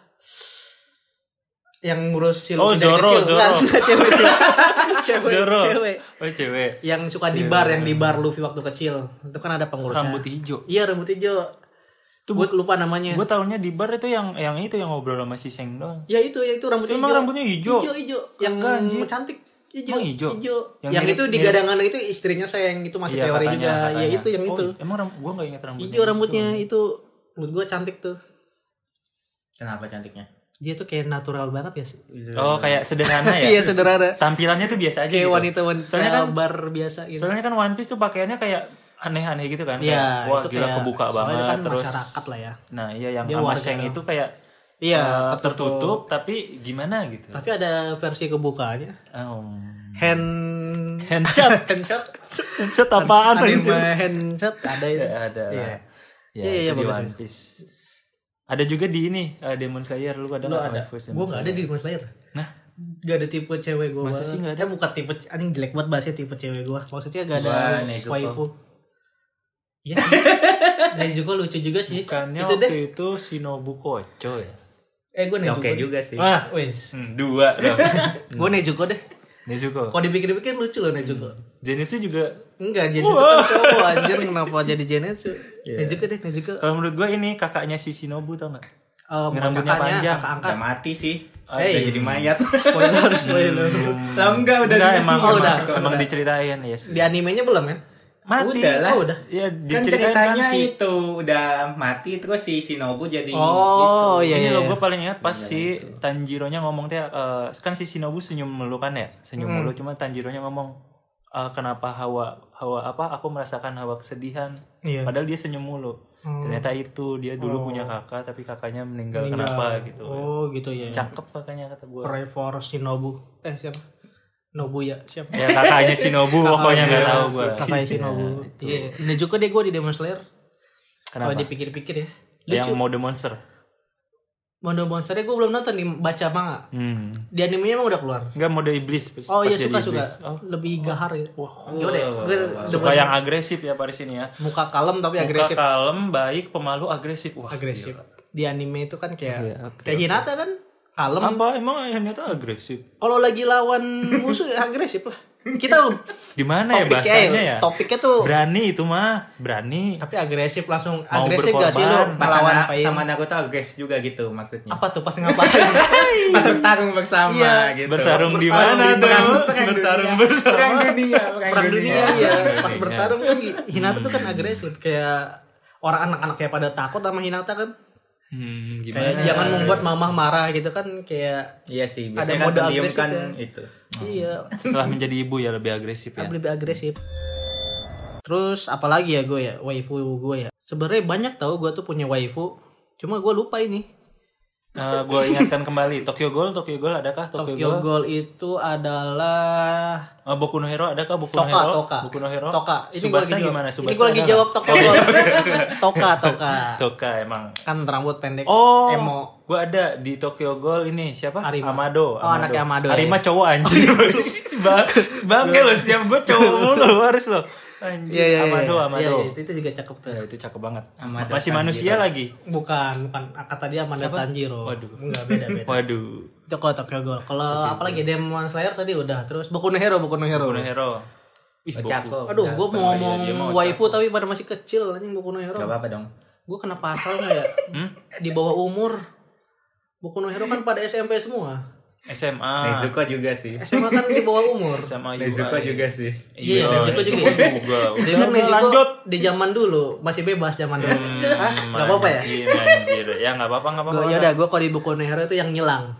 A: Yang ngurus si
B: Oh,
A: Luffy dari
B: Zoro,
A: kecil. Enggak,
B: Zoro.
A: enggak, cewek, cewek. cewek,
B: Zoro.
A: cewek.
B: Oh cewek.
A: Yang suka di bar, yang di bar Luffy waktu kecil. Itu kan ada pengurusnya.
B: Rambut hijau.
A: Iya, rambut hijau. Tuh gue lupa namanya.
B: Gue tahunya di bar itu yang yang itu yang ngobrol sama si Seng doang.
A: Ya itu, ya itu rambutnya
B: Emang rambutnya hijau?
A: Hijau, hijau. Yang
B: Kagak, anjir.
A: cantik. Hijau,
B: Emang hijau? Yang
A: Yang,
B: mirip-
A: itu di
B: mirip-
A: gadangan itu istrinya sayang itu masih
B: Iya,
A: teori
B: katanya,
A: juga. Ya
B: katanya.
A: itu yang
B: Oh,
A: itu.
B: Emang gue gak ingat rambutnya.
A: Hijau rambutnya itu menurut gua cantik tuh.
C: Kenapa cantiknya?
A: Dia tuh kayak natural banget ya sih.
B: Oh kayak sederhana ya.
A: Iya, sederhana.
B: Tampilannya tuh biasa aja.
A: Kayak
B: gitu.
A: wanita wanita
B: Soalnya kan,
A: bar biasa gitu.
B: soalnya kan One Piece tuh pakaiannya kayak aneh-aneh gitu kan.
A: Iya,
B: Kayak, Wah
A: itu
B: gila
A: kayak-
B: kebuka
A: soalnya
B: banget
A: kan
B: terus.
A: masyarakat lah ya.
B: Nah iya yang
A: Dia
B: sama
A: warga.
B: Seng itu kayak
A: Iya,
B: eh,
A: tertutup.
B: tertutup tapi gimana gitu.
A: Tapi ada versi kebukanya.
B: Um,
A: Hand
B: handshot.
A: handshot.
B: handshot apaan?
A: Anime
B: anjir?
A: handshot ada itu.
B: Ya, ada lah.
A: Iya.
B: Ya,
A: Iya, iya,
B: itu di
A: bagus,
B: One Piece. Ada juga di ini eh, Demon Slayer lu ada
A: Lu
B: nggak
A: ada.
B: waifu Demon
A: Gua enggak ada di Demon Slayer.
B: Nah,
A: Gak ada tipe cewek gue
B: Masa sih nggak ada?
A: Eh bukan tipe Anjing jelek banget bahasnya tipe cewek gue Maksudnya gak
C: Wah,
A: ada
C: Nezuko.
A: waifu Iya sih Nezuko lucu juga sih
B: bukannya
A: Itu
B: waktu
A: deh
B: itu Shinobu Kocho ya? Hmm.
A: Eh gue
C: Ya,
A: Nezuko
C: Oke juga sih.
B: Wah,
A: Wes
B: hmm, dua dong.
A: Gue Nezuko deh
B: Nezuko.
A: Kalau dipikir-pikir lucu loh Nezuko
B: Hmm. Zenitsu juga
A: Enggak Genjutsu kan cowok Anjir kenapa jadi Genjutsu
B: Iya.
A: Nezuko deh Eh, Nezuko
B: kalau menurut gua ini kakaknya si Shinobu tau nggak?
A: Eh, bukan
B: rambutnya
A: kakaknya,
B: panjang.
A: Kakak angkat
C: Udah mati sih.
A: Eh,
C: Udah jadi mayat.
A: spoiler
B: Hmm.
A: spoiler
C: Lah enggak Ah, udah
B: Enggak,
C: di-
B: emang,
A: Oh,
B: emang,
A: udah.
B: emang
A: Udah.
B: diceritain ya. Yes.
A: Di animenya belum kan
B: Mati.
C: Udah lah.
A: Oh udah
B: Ya,
C: Kan
B: diceritain kan
C: ceritanya
B: si
C: itu udah mati terus si Shinobu jadi
A: Oh iya
B: Gitu. ini
A: iya
B: lo gue paling ingat pas si Tanjiro nya ngomong teh eh, kan si Shinobu senyum mulu kan ya senyum mulu cuma Tanjiro nya ngomong eh, kenapa hawa hawa apa aku merasakan hawa kesedihan
A: Iya. Hmm.
B: padahal dia senyum mulu ternyata itu dia dulu punya kakak tapi kakaknya meninggal, kenapa gitu
A: Oh gitu ya
B: cakep kakaknya kata gue
A: Pray for Shinobu. Eh siapa? Nobu ya, siapa?
B: ya kakaknya Shinobu pokoknya nggak tahu gue
A: Kakaknya Shinobu. Iya. Ini juga deh gue di Demon Slayer. Kalau
B: Kenapa?
A: dipikir-pikir ya.
B: yang mode monster
A: Mondo Monsternya gue belum nonton di baca manga.
B: hmm.
A: Di animenya emang udah keluar.
B: nggak mode iblis pas-
A: Oh
B: pas
A: iya
B: jadi
A: suka suka.
B: iblis. Oh,
A: Lebih gahar gitu. Wah, deh. Gue
B: suka yang agresif ya Paris ini ya
A: oh, muka Iya. kalem tapi
B: agresif.
A: iya, agresif.
B: kalem, baik, pemalu, agresif. Wah,
A: Agresif. Di anime itu kan kayak
B: Iya, oke,
A: kayak Hinata kan kalem.
B: Apa emang ayahnya tuh agresif?
A: Kalau lagi lawan musuh ya agresif lah. Kita
B: Di mana ya
A: topiknya,
B: bahasanya ya?
A: topiknya tuh
B: Berani itu mah, berani.
A: tapi agresif langsung
B: Mau
A: agresif gak sih lo
B: berkorban.
A: pas
C: Sama,
A: ngapain
C: sama Naruto agresif juga gitu maksudnya.
A: apa tuh pas ngapain
C: Pas bertarung
A: Ah.
C: bersama
A: Iya.
C: gitu.
B: Bertarung di
C: Pas
B: mana
C: di perang-
B: tuh?
C: perang
B: Bertarung
C: dunia.
B: bersama.
C: Perang dunia,
A: perang dunia ya pas
B: Iya.
A: bertarung kan Hinata tuh kan agresif kayak orang anak-anak kayak pada takut sama Hinata kan
B: Hmm,
A: Kayak
B: gimana?
A: jangan membuat mamah marah gitu kan kayak
C: Iya
A: Ada
C: sih, biasanya kan
A: mode
C: pendiam
A: agresif
C: kan
A: ya.
C: itu.
A: iya
B: Setelah menjadi ibu ya lebih agresif ya.
A: lebih agresif. Terus apalagi ya gue ya waifu gue ya. Sebenarnya banyak tahu gue tuh punya waifu. Cuma gue lupa ini.
B: gue Eh, ingatkan kembali Tokyo Ghoul, Tokyo Ghoul adakah Tokyo,
A: Tokyo
B: Ghoul?
A: Ghoul itu adalah
B: Eh, Boku no Hero adakah Boku no
A: Toka,
B: Hero?
A: Toka.
B: Boku no Hero?
A: Toka. Ini gue lagi
B: Subasa
A: jawab.
B: gimana?
A: ini
B: Subasa
A: gue lagi
B: ada
A: jawab
B: nggak?
A: Toka Ghoul. toka, Toka.
B: Toka emang.
A: Kan rambut pendek.
B: Oh,
A: Emo.
B: gue ada di Tokyo Ghoul ini siapa?
A: Arima.
B: Amado.
A: Oh, anaknya Amado, ya.
B: Arima cowok anjing. Ba- Bangke lo setiap gue cowok mulu harus lo. Anjing.
A: Iya, iya, iya.
B: Amado,
A: Iya,
B: Amado.
A: iya, itu, itu juga cakep tuh.
B: Ya, itu cakep banget.
C: Amado
B: Masih
C: Tanjiro.
B: manusia lagi.
A: Bukan, bukan. Kata dia Amanda Tanjiro.
B: Waduh.
A: Enggak, beda-beda.
B: Waduh.
A: itu kalau Tokyo Ghoul. Kalau apalagi Demon Slayer tadi udah. Terus Boku no Hero, Boku no Hero.
B: Boku no Hero. Ih, Boku.
C: Ocako.
A: Aduh,
C: Udah,
A: gue mau
C: pernah
A: ngomong
B: dia mau
A: waifu tapi pada masih kecil anjing Boku no Hero.
C: Gak apa-apa dong.
A: Gue kena pasal nggak ya?
B: Hmm?
A: Di bawah umur. Boku no Hero kan pada SMP semua.
B: SMA.
C: Nezuko juga sih.
B: Eh,
A: SMA kan di bawah umur.
B: SMA
C: Nezuko juga sih.
A: Iya, Nezuko juga.
B: ya. juga.
A: Dia kan Nezuko
B: lanjut. Hmm,
A: di zaman dulu, masih bebas zaman dulu. Hah? Gak apa-apa ya?
B: Anjir, anjir. Ya nggak apa-apa, nggak apa-apa.
A: Gua, yaudah, gue kalau di Boku no Hero itu yang nyilang.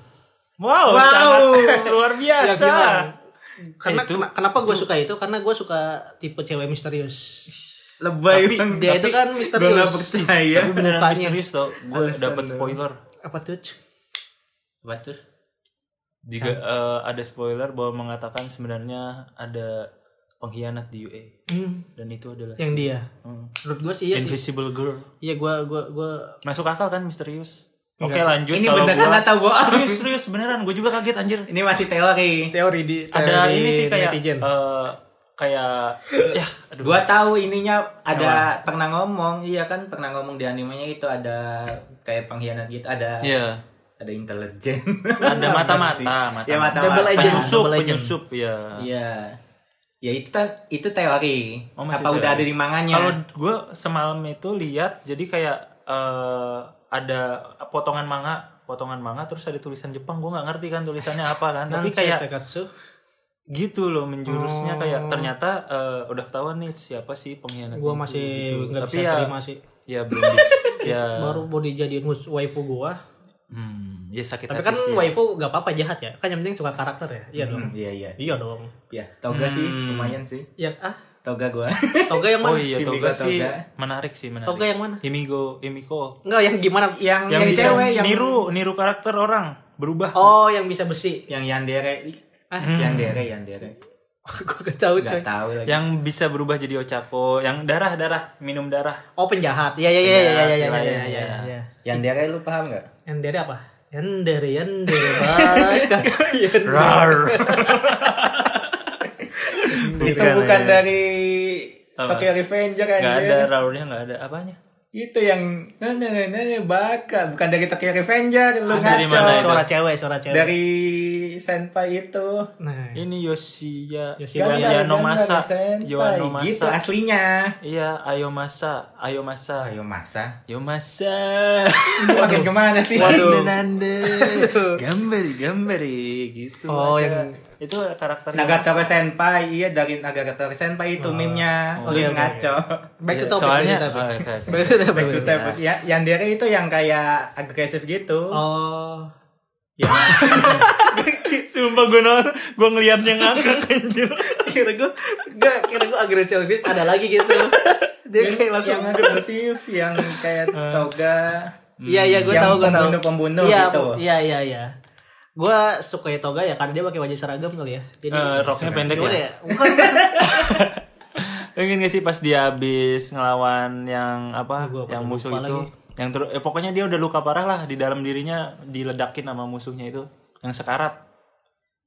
A: Wow.
B: Wow,
A: Iya,
B: sangat luar
A: Yang
B: biasa.
A: nyilang. Karena
B: Iya, Itu-
A: kena- kenapa gue suka itu? Karena gue suka tipe cewek misterius.
C: Lebay
A: Tapi dia itu kan misterius.
C: Gue gak percaya.
B: Tapi beneran
A: Mukanya.
B: misterius tau, gue
C: Iya. Alasan
B: dapet
C: dong.
B: spoiler.
A: Apa tuh? Cuk?
C: Apa tuh?
B: Jika eh, ada spoiler bahwa mengatakan sebenarnya ada pengkhianat di UA
A: Hmm,
B: dan itu adalah
A: yang
B: si-
A: dia.
B: Hmm.
A: Menurut gue sih iya sih.
B: Invisible Girl.
A: Iya gue gue gue
B: Masuk akal kan misterius? Oke
A: Enggak sih.
B: lanjut
C: Ini
B: kalau
C: beneran
B: gua-
C: atau bohong?
B: Serius serius beneran gue juga kaget anjir.
C: Ini masih teori.
A: teori di
B: Ada
A: teori
B: ini sih kayak
A: netizen.
B: eh, kayak ya aduh.
C: Gua tahu ininya ada pernah ngomong, iya kan pernah ngomong di animenya itu ada kayak pengkhianat gitu, ada
B: Iya.
C: ada intelijen.
B: Ada mata-mata,
C: Apa sih? Ya
B: mata-mata.
A: Double
C: mata-mata.
A: agent.
B: Penyusup,
A: Double agent.
B: penyusup ya.
C: Iya. Ya itu kan itu teori.
B: Oh,
C: Apa
B: masih
C: udah
B: teori.
C: ada di
A: Iya.
C: manganya?
B: Kalau gue semalam itu lihat, jadi kayak eh, ada potongan manga, potongan manga, terus ada tulisan Jepang. Gue nggak ngerti kan tulisannya apa kan, tapi
A: Nansei
B: kayak
A: Takatsu.
B: gitu loh
A: ya.
B: menjurusnya
A: Oh.
B: kayak ternyata eh, udah ketahuan nih siapa sih pengkhianat.
A: Gua
B: itu,
A: masih nggak
B: Gitu, Tapi
A: bisa
B: ya,
A: terima sih.
B: ya belum bisa. ya,
A: Baru mau dijadiin hus- waifu gua.
B: hmm, ya sakit
A: Tapi
B: hati
A: kan
B: sih.
A: waifu gak apa-apa jahat ya. Kan yang penting suka karakter ya. Iya dong.
C: Hmm, iya iya.
A: Iya dong.
C: Iya, toga sih
B: Hmm.
C: lumayan sih.
A: Yang ah,
C: Toga gua.
A: toga yang
B: Oh
A: mana?
B: iya,
C: Himiko
B: toga sih
C: Toga.
B: menarik sih menarik.
A: Toga yang mana?
B: Himigo, Himiko.
A: Enggak, yang gimana?
C: yang
B: Yang, bisa
C: cewek yang
B: niru, niru karakter orang berubah.
A: Oh, yang bisa besi.
C: yang yandere.
A: Ah.
B: Hmm.
C: Yandere, yandere.
A: gua gak tahu coy.
C: Gak tahu lagi.
B: yang bisa berubah jadi Ochako, yang darah darah minum darah.
A: Oh, penjahat. Iya, iya, iya, iya, iya, iya,
B: Penjahat,
A: iya,
B: iya,
A: iya,
B: iya.
A: iya.
C: Yandere lu paham nggak?
A: Yang dari apa? Yang dari, yang dari Baraka. Yang-
B: Rar.
C: itu bukan
B: ya.
C: dari
B: Apa?
C: Tokyo Revenger
B: Nggak
C: anjir.
B: ada
A: Iya.
B: raurnya nggak ada apanya.
C: Itu yang nah, nanya nanya baka bukan dari Tokyo Revenger lu
B: Terus dari
C: ngaco.
B: mana itu?
A: Suara cewek, suara cewek.
C: Dari senpai itu.
A: Nah,
B: Ini Yoshiya
A: Yoshiya.
B: Yoshia Yoanomasa.
C: gambar senpai.
B: Yoanomasa.
C: Gitu aslinya.
B: Iya, Ayomasa, Ayomasa.
C: Ayo Oh, masa.
B: Ayomasa.
C: Itu makin kemana sih?
B: Nande, gambari, gambari gitu.
A: Oh,
B: ada.
A: yang-
B: itu karakter
C: Nagatora Senpai, iya dari Nagatora
B: Oh.
C: Senpai itu meme-nya.
A: oke,
C: Lu
A: oke,
C: ngaco.
A: back
B: Iya,
A: to topic. back
B: soalnya-
A: to topic.
B: oh, oke, oke.
A: Back to topic.
C: Back to topic. Ya, yang dia itu yang kayak agresif gitu.
A: Oh.
B: Sumpah gue nol, gue ngeliatnya ngakak anjir.
A: kira gue enggak kira gue agresif agresif ada lagi gitu dia kayak langsung
C: yang agresif, yang kayak
A: Eh.
C: toga.
B: Hmm.
A: iya iya gue
C: Yang
A: tahu gue tahu
C: pembunuh-pembunuh
A: iya,
C: gitu.
A: iya iya iya gue suka toga ya karena dia pakai baju seragam kali ya jadi
B: Eh, roknya pendek
A: gimana
B: ya.
A: ya bukan kan
B: Lo Ingin gak sih pas dia habis ngelawan yang apa
A: Gua pada
B: yang musuh
A: lupa
B: itu yang ter eh, pokoknya dia udah luka parah lah di dalam dirinya diledakin sama musuhnya itu yang sekarat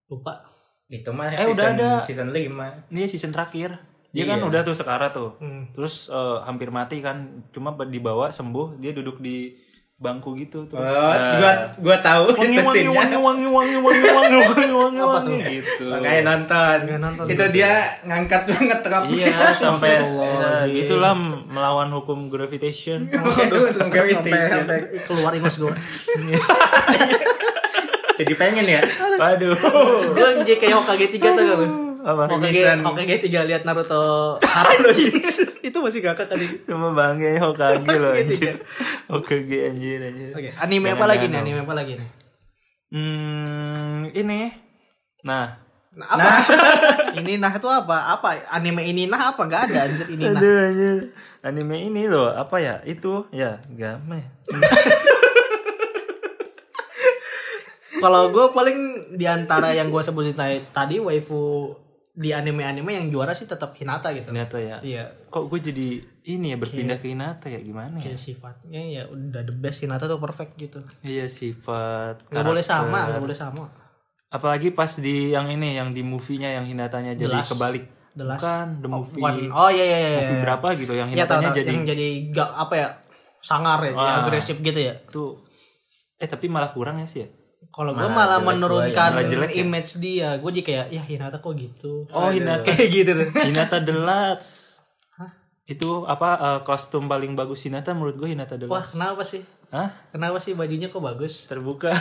A: lupa
C: Itu mah
B: Eh,
C: season,
B: udah ada.
C: season 5.
B: ini season terakhir dia
C: Iya.
B: kan udah tuh sekarat tuh
A: Hmm.
B: terus eh, hampir mati kan cuma be- dibawa sembuh dia duduk di bangku gitu terus
C: Oh,
B: eh,
C: gua gua tahu
B: wangi
C: itu
B: wangi wangi
C: scene-nya.
B: wangi wangi wangi wangi wangi wangi
A: Apa
B: wangi
A: tuh?
B: gitu
C: Makanya nonton.
A: Makanya nonton.
C: itu dia ngangkat banget rok.
B: iya sampai
A: Astagfirullahaladzim.
B: eh, gitulah melawan hukum gravitation
C: Aduh,
A: sampai, sampai keluar ingus gue
C: Jadi ya? pengen ya.
B: Waduh.
A: gue jadi kayak Hokage tiga tuh gue
B: apa
A: Oke,
C: Misan.
A: oke, tiga lihat Naruto Haram itu masih kakak tadi.
B: Cuma bangga Hokage loh
A: Hokage
B: anjir. Hokage anjir anjir.
A: Gitu ya. Oke, anime apa
B: Jangan
A: lagi nih?
B: jangan.
A: Anime apa lagi nih?
B: Hmm, ini. Nah,
A: Nah, apa? ini nah itu apa? Apa anime ini nah apa? Gak ada anjir ini nah.
B: aduh anjir. Anime ini loh, apa ya? Itu ya, game.
A: Kalau gue paling di antara yang gue sebutin tadi- tadi waifu di anime-anime yang juara sih tetap Hinata gitu.
B: Ternyata ya.
A: Iya.
B: Kok gue jadi ini ya berpindah ke Hinata ya gimana ya?
A: Kayak sifatnya ya udah the best Hinata tuh perfect gitu.
B: Iya sifat
A: Gak
B: karakter.
A: boleh sama, gak boleh sama.
B: Apalagi pas di yang ini yang di movie-nya yang Hinatanya jadi
A: Last.
B: kebalik.
A: The Last
B: Bukan the movie.
A: One. Oh iya iya iya.
B: movie berapa gitu yang
A: Iya tahu
B: Hinatanya
A: tahu.
B: jadi
A: yang jadi gak apa ya? Sangar ya,
B: Wah.
A: agresif gitu ya.
B: tuh eh tapi malah kurang ya sih ya.
A: Kalau gue malah
C: jelek
A: menurunkan
B: gua ya, malah jelek ya.
A: image dia. Gue jadi kayak ya Hinata kok gitu.
B: Oh, Hinata.
A: Kayak gitu tuh.
B: Hinata The Last. Itu apa eh, kostum paling bagus Hinata menurut gue Hinata The
A: Wah,
B: Last.
A: kenapa sih?
B: Hah?
A: Kenapa sih bajunya kok bagus?
B: Terbuka.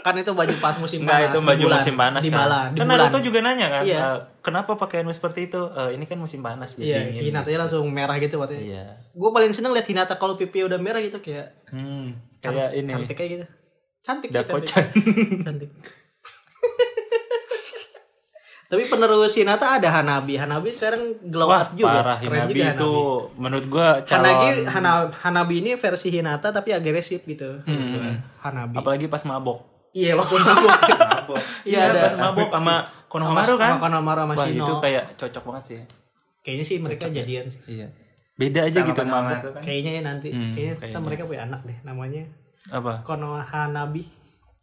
A: Kan itu baju pas musim panas.
B: Enggak itu
A: di
B: baju
A: bulan.
B: musim panas
A: di
B: kan.
A: malam, di
B: kan
A: bulan.
B: Naruto juga nanya kan,
A: Iya.
B: eh, kenapa pakaianmu seperti itu? Eh, ini kan musim panas jadi
A: Iya,
B: dingin.
A: Hinatanya langsung merah gitu waktu
B: Iya.
A: Gue paling seneng liat Hinata kalau pipi udah merah gitu kayak
B: Hmm, kayak ini.
A: cantik kayak gitu. Cantik dia, cantik.
B: Dakocan.
A: cantik. Tapi penerus Hinata ada Hanabi. Hanabi sekarang glow
B: Wah,
A: up juga.
B: parah
A: Keren
B: Hinabi
A: juga
B: itu
A: Hanabi. Kan
B: menurut gua
A: Hanabi,
B: calon
A: Hana- Hanabi ini versi Hinata tapi agresif gitu.
B: Hmm.
A: Hanabi.
B: apalagi pas mabok.
A: Iya,
B: Oh.
A: waktu mabuk. Iya ada.
B: pas mabok sama Konohamaru kan?
A: Sama Konohamaru sama
B: Wah,
A: Shino.
B: itu kayak cocok banget sih.
A: Kayaknya sih mereka jadian sih.
B: Iya. Beda aja gitu mabok.
C: aku kan.
A: Kayaknya ya nanti.
B: Hmm,
A: kayaknya, kita
B: kayaknya.
A: mereka punya anak deh namanya
B: Apa?
A: Konohanabi.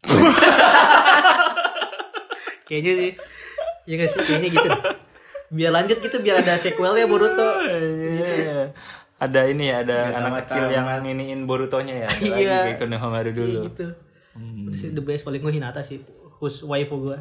A: kayaknya sih. Iya gak sih? Kayaknya gitu. deh. Biar lanjut gitu biar ada sequelnya Boruto.
B: Iya. ada ini ya, ada anak
C: tamat-tamat.
B: kecil yang iniin Borutonya ya. Ada Lagi
A: Iya.
B: kayak Konohamaru dulu. Hmm.
A: Iya gitu. Terus the best paling gue Hinata sih. Who's waifu gue.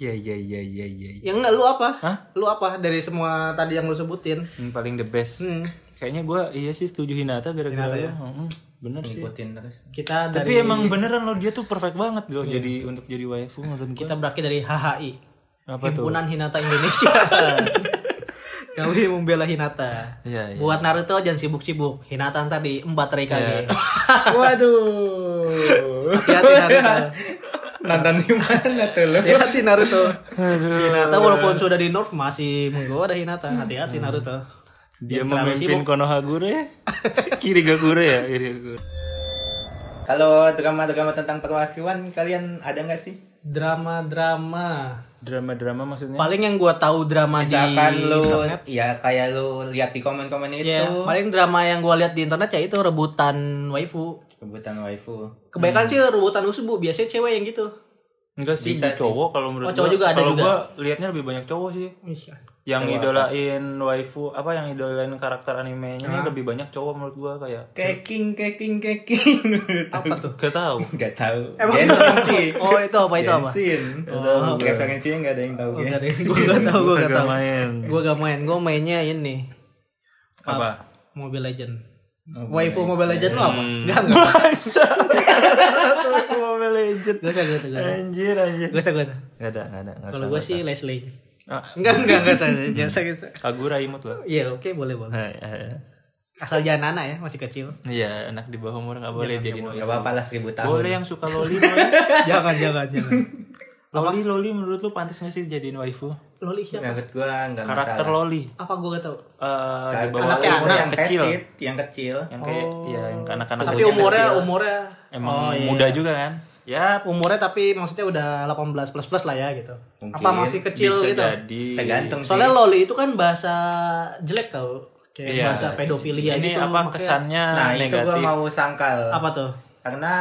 B: Iya, iya, iya, iya, iya. iya.
A: Yang enggak lu apa?
B: Hah?
A: Lu apa dari semua tadi yang lu sebutin?
B: Hmm, paling the best.
A: Hmm.
B: Kayaknya gua iya sih setuju Hinata gara-gara
A: Hinata ya?
B: lo. Mm-mm, bener sih.
C: Ngikutin terus.
A: Kita dari Iya.
B: Tapi emang beneran loh dia tuh perfect banget loh jadi untuk jadi waifu menurut gua.
A: kita berakhir dari HHI.
B: Apa tuh?
A: Himpunan Hinata Indonesia. Kami membela Hinata.
B: Iya, iya.
A: Buat Naruto jangan sibuk-sibuk. Hinata ntar di empat Reikage.
B: Iya.
C: Waduh.
A: Hati-hati Naruto.
C: Nonton di mana tuh lo?
A: Hati-hati Naruto. Hinata walaupun sudah di North masih menggoda Hinata. Hati-hati Naruto.
B: Dia
A: Jangan terlalu
B: memimpin ya?
A: sibuk.
B: Konohagure, Kirigakure ya, Kirigakure.
C: Kalau drama-drama tentang perwafiwan kalian ada nggak sih?
A: Drama-drama.
B: Drama-drama maksudnya?
A: Paling yang gua tahu drama di
C: Misalkan lu
A: internet.
C: ya kayak lu lihat di komen-komen itu
A: Ya, paling drama yang gua lihat di internet ya itu rebutan waifu.
C: kebutuhan waifu.
A: Kebanyakan sih rebutan usbu, biasanya cewek yang gitu.
B: Enggak sih,
C: Bisa
B: di cowok kalau menurut
A: Oh, cowok
B: gua.
A: juga ada
B: kalau
A: juga.
B: gua liatnya lebih banyak cowok sih. Yang idolain waifu, apa yang idolain karakter animenya ini lebih banyak cowok menurut gua kayak.
C: Keking, keking, keking.
A: Apa tuh?
B: Gak tau.
C: Gak tahu. Genshin sih.
A: Oh, itu apa itu apa?
C: Genshin. Oh, referensinya nggak ada yang tahu. ya.
A: Gue
C: Gen.
A: gak tau, gue gak
B: Gak
A: tau.
B: main.
A: Gue gak main, gue mainnya ini
B: Apa?
A: Mobile Legend. Waifu Mobile Legend lo apa? Gak, gak.
B: Masa? Aku Mobile Legend.
A: Gak usah, gak usah, gak usah.
B: Anjir, anjir.
A: Gak usah, gak usah.
B: Gak ada, gak ada.
A: Kalau gue sih Leslie.
B: Ah.
A: Enggak, enggak, enggak usah. Gak usah, gak usah.
B: Kagura imut loh.
A: Iya, oke, boleh, boleh.
B: Hai, hai.
A: Asal jangan anak ya, masih kecil.
B: Iya, anak di bawah umur gak boleh jadi
C: Gak apa-apa lah seribu tahun.
B: Boleh yang suka loli, loli.
A: jangan, jangan, jangan.
B: Loli, loli menurut lu pantas gak sih jadiin waifu?
A: Loli siapa?
C: Menurut gua nggak masalah.
B: Karakter loli.
A: Apa gue gak tau?
B: Eh, di
C: Karakter
B: bawah
A: Anaknya
B: umur
A: anak.
B: yang kecil.
C: petit, yang kecil.
B: Yang kayak, ya yang anak-anak
A: Tapi
B: kecil.
A: umurnya, Oh, iya. umurnya
B: Emang muda juga kan? Ya,
A: umurnya tapi maksudnya udah 18 plus plus lah ya gitu. Apa
C: Mungkin
A: masih kecil
B: bisa
A: gitu?
B: jadi.
C: Tergantung sih.
A: Soalnya loli itu kan bahasa jelek tau, kayak
B: Iya.
A: bahasa pedofilia
B: Ini
A: gitu.
B: apa
A: makanya-
B: kesannya
C: Nah, itu
B: negatif.
C: gua mau sangkal.
A: Apa tuh?
C: Karena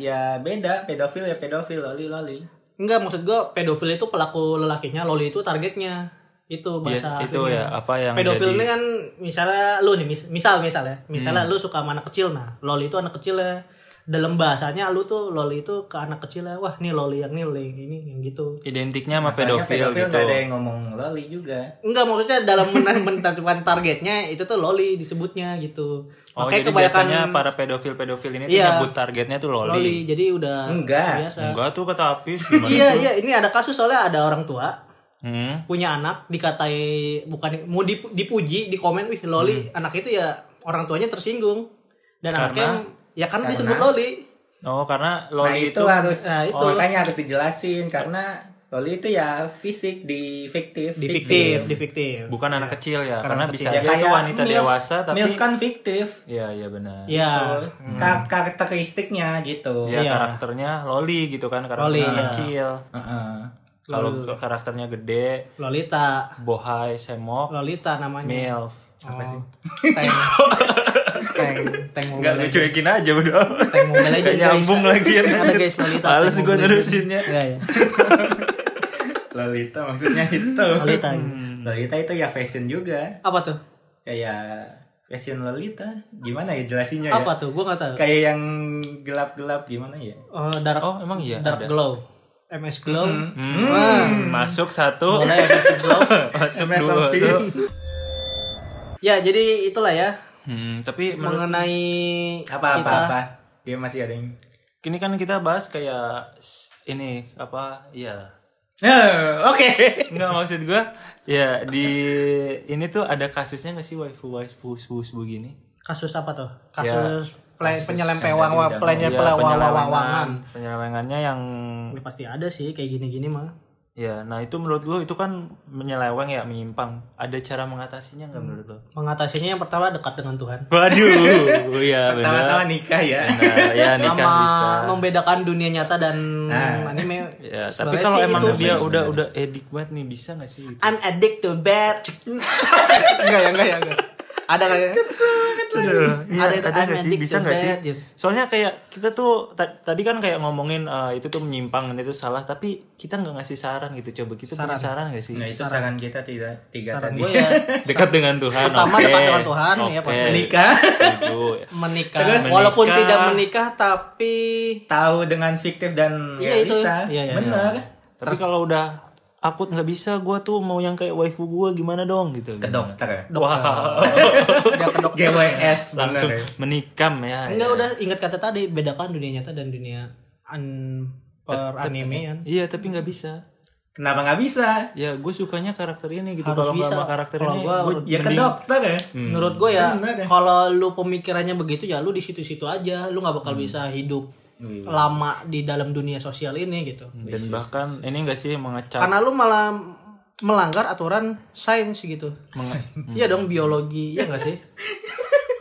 C: ya beda, pedofil ya pedofil, loli loli.
A: Enggak maksud gue pedofil itu pelaku lelakinya, loli itu targetnya. Itu
B: Ya,
A: bahasa
B: itu
A: aslinya.
B: ya, apa yang
A: pedofil
B: jadi. Hmm.
A: ini kan misalnya lu nih mis- misal misal ya misalnya lu suka sama anak kecil nah loli itu anak kecil ya dalam bahasanya lu tuh loli itu ke anak kecil ya wah nih loli yang ini loli yang ini yang gitu
B: Identiknya sama pedofil,
C: Soalnya pedofil
B: gitu.
C: nggak ada yang ngomong loli juga.
A: Enggak maksudnya dalam men- menentukan targetnya itu tuh loli disebutnya gitu.
B: Oh,
A: Makanya
B: jadi
A: kebanyakan
B: biasanya para pedofil-pedofil ini
A: Iya.
B: tuh nyebut targetnya tuh loli.
A: loli jadi udah
C: Enggak.
A: biasa.
B: Enggak tuh kata Apis gimana
A: Iya
B: sih?
A: iya ini ada kasus soalnya ada orang tua
B: Hmm.
A: punya anak dikatai bukan mau dipu- dipuji di komen wih loli
B: Hmm.
A: anak itu ya orang tuanya tersinggung dan
B: Karena-
A: anaknya ya karena,
C: Karena-
A: disebut loli
B: Oh, karena
C: Nah
B: loli
C: itu,
B: itu,
C: harus Oh,
A: nah itu
C: makanya harus dijelasin karena Loli itu ya fisik di fiktif.
A: di fiktif di fiktif
B: bukan anak kecil ya,
A: Karena
B: karena, bisa
A: kecil.
B: aja itu wanita
C: milf.
B: dewasa tapi
C: milf kan fiktif.
B: Iya, iya benar. Iya,
A: ya
C: Tuh. Ka- karakteristiknya gitu.
B: Ya.
A: Iya.
B: karakternya loli gitu kan, karena
A: Loli,
B: anak
A: iya.
B: kecil.
C: Heeh.
B: Kalau ke- karakternya gede,
A: lolita
B: bohai, semok,
A: lolita namanya Oh.
B: milf.
A: apa sih tank tank tank
B: Enggak
A: mobile
B: cuekin aja udah.
A: tank mobile aja
B: Nggak nyambung lagi ya.
A: ada guys lolita
B: Males
A: Tank
B: gua
A: Mobile Legends.
B: nerusinnya.
A: Iya, iya.
C: Lolita maksudnya itu.
A: lolita
C: Lolita itu ya fashion juga.
A: apa tuh
C: Kayak fashion Lolita. Gimana ya
B: Iya,
C: jelasinnya ya?
A: apa tuh gua nggak tahu
C: Kayak yang gelap-gelap gimana ya?
A: Eh, dark
B: Oh, emang iya
A: dark
B: ada.
A: glow ms glow
B: Hmm, Masuk satu,
A: mulai MS glow
B: masuk
C: MS
B: dua tuh.
C: Office.
A: ya jadi itulah ya
B: Hmm, tapi menurut
A: mengenai
C: Apa-apa
A: kita-
C: apa. Dia masih ada yang
B: Kini kan kita bahas kayak s- ini apa ya
C: Eh, Oke.
B: Enggak maksud gua ya di ini tuh ada kasusnya nggak sih waifu waifu waifu begini
A: kasus apa tuh
B: Ya,
A: kasus, play,
C: yang
A: penyelempewang
C: tadi
A: pelenye
B: Ya,
A: pelawawangan
B: penyelewengannya yang
A: Ya, pasti ada sih kayak gini-gini mah
B: ya nah itu menurut lo itu kan menyeleweng ya menyimpang ada cara mengatasinya nggak menurut lo
A: mengatasinya yang pertama dekat dengan Tuhan
B: waduh ya
C: Pertama-tama
B: benar
C: nikah ya.
B: Nah, ya nikah
A: sama
B: bisa
A: membedakan dunia nyata dan anime
B: ya
A: Sebenarnya
B: tapi kalau
A: sih
B: emang
A: itu
B: dia udah udah edik banget nih bisa nggak sih gitu?
A: I'm addicted to bed enggak ya enggak ya enggak ada nggak ya
B: Aduh, iya,
A: Ada- ada
B: ada nggak sih
A: yang
B: bisa nggak sih
A: dicopet, gitu.
B: soalnya kayak kita tuh ta- tadi kan kayak ngomongin eh, itu tuh menyimpang dan itu salah tapi kita nggak ngasih saran gitu coba kita punya saran nggak sih
C: Nah itu saran kita tidak tiga
A: saran
C: tadi.
A: gue ya
B: dekat dengan Tuhan
A: Pertama,
B: oke.
A: dekat dengan Tuhan, ya,
B: Oke, Gitu.
A: pasti.
C: Nikah
B: setuju.
A: menikah
C: Terus
A: walaupun
B: menikah.
A: tidak menikah tapi
C: tahu dengan fiktif dan
A: Iya, itu.
C: realita.
A: Iya, iya,
C: Bener.
B: tapi kalau udah aku nggak bisa gue tuh mau yang kayak waifu gue gimana dong gitu
C: Ke dokter. ya?
B: Wah,
A: udah ke dokter
C: GWS bener.
B: langsung
C: ya.
B: menikam ya
A: enggak
B: ya.
A: udah ingat kata tadi bedakan dunia nyata dan dunia an per anime kan
B: iya tapi nggak bisa
C: Kenapa nggak bisa?
B: ya gue sukanya karakter ini gitu
A: Harus
B: kalau nggak
A: bisa.
B: sama karakter
A: Kalau
B: ini
A: gua
B: gua Hmm.
A: harus-
C: Ya ke
B: mending-
C: dokter ya.
A: menurut gue ya
C: Bener ya.
A: kalau lu pemikirannya begitu ya lu di situ-situ aja lu nggak
B: Hmm.
A: bakal bisa hidup
B: Iya.
A: lama di dalam dunia sosial ini gitu
B: dan bahkan ini enggak sih mengecap
A: karena lu malah melanggar aturan sains gitu iya dong biologi ya nggak sih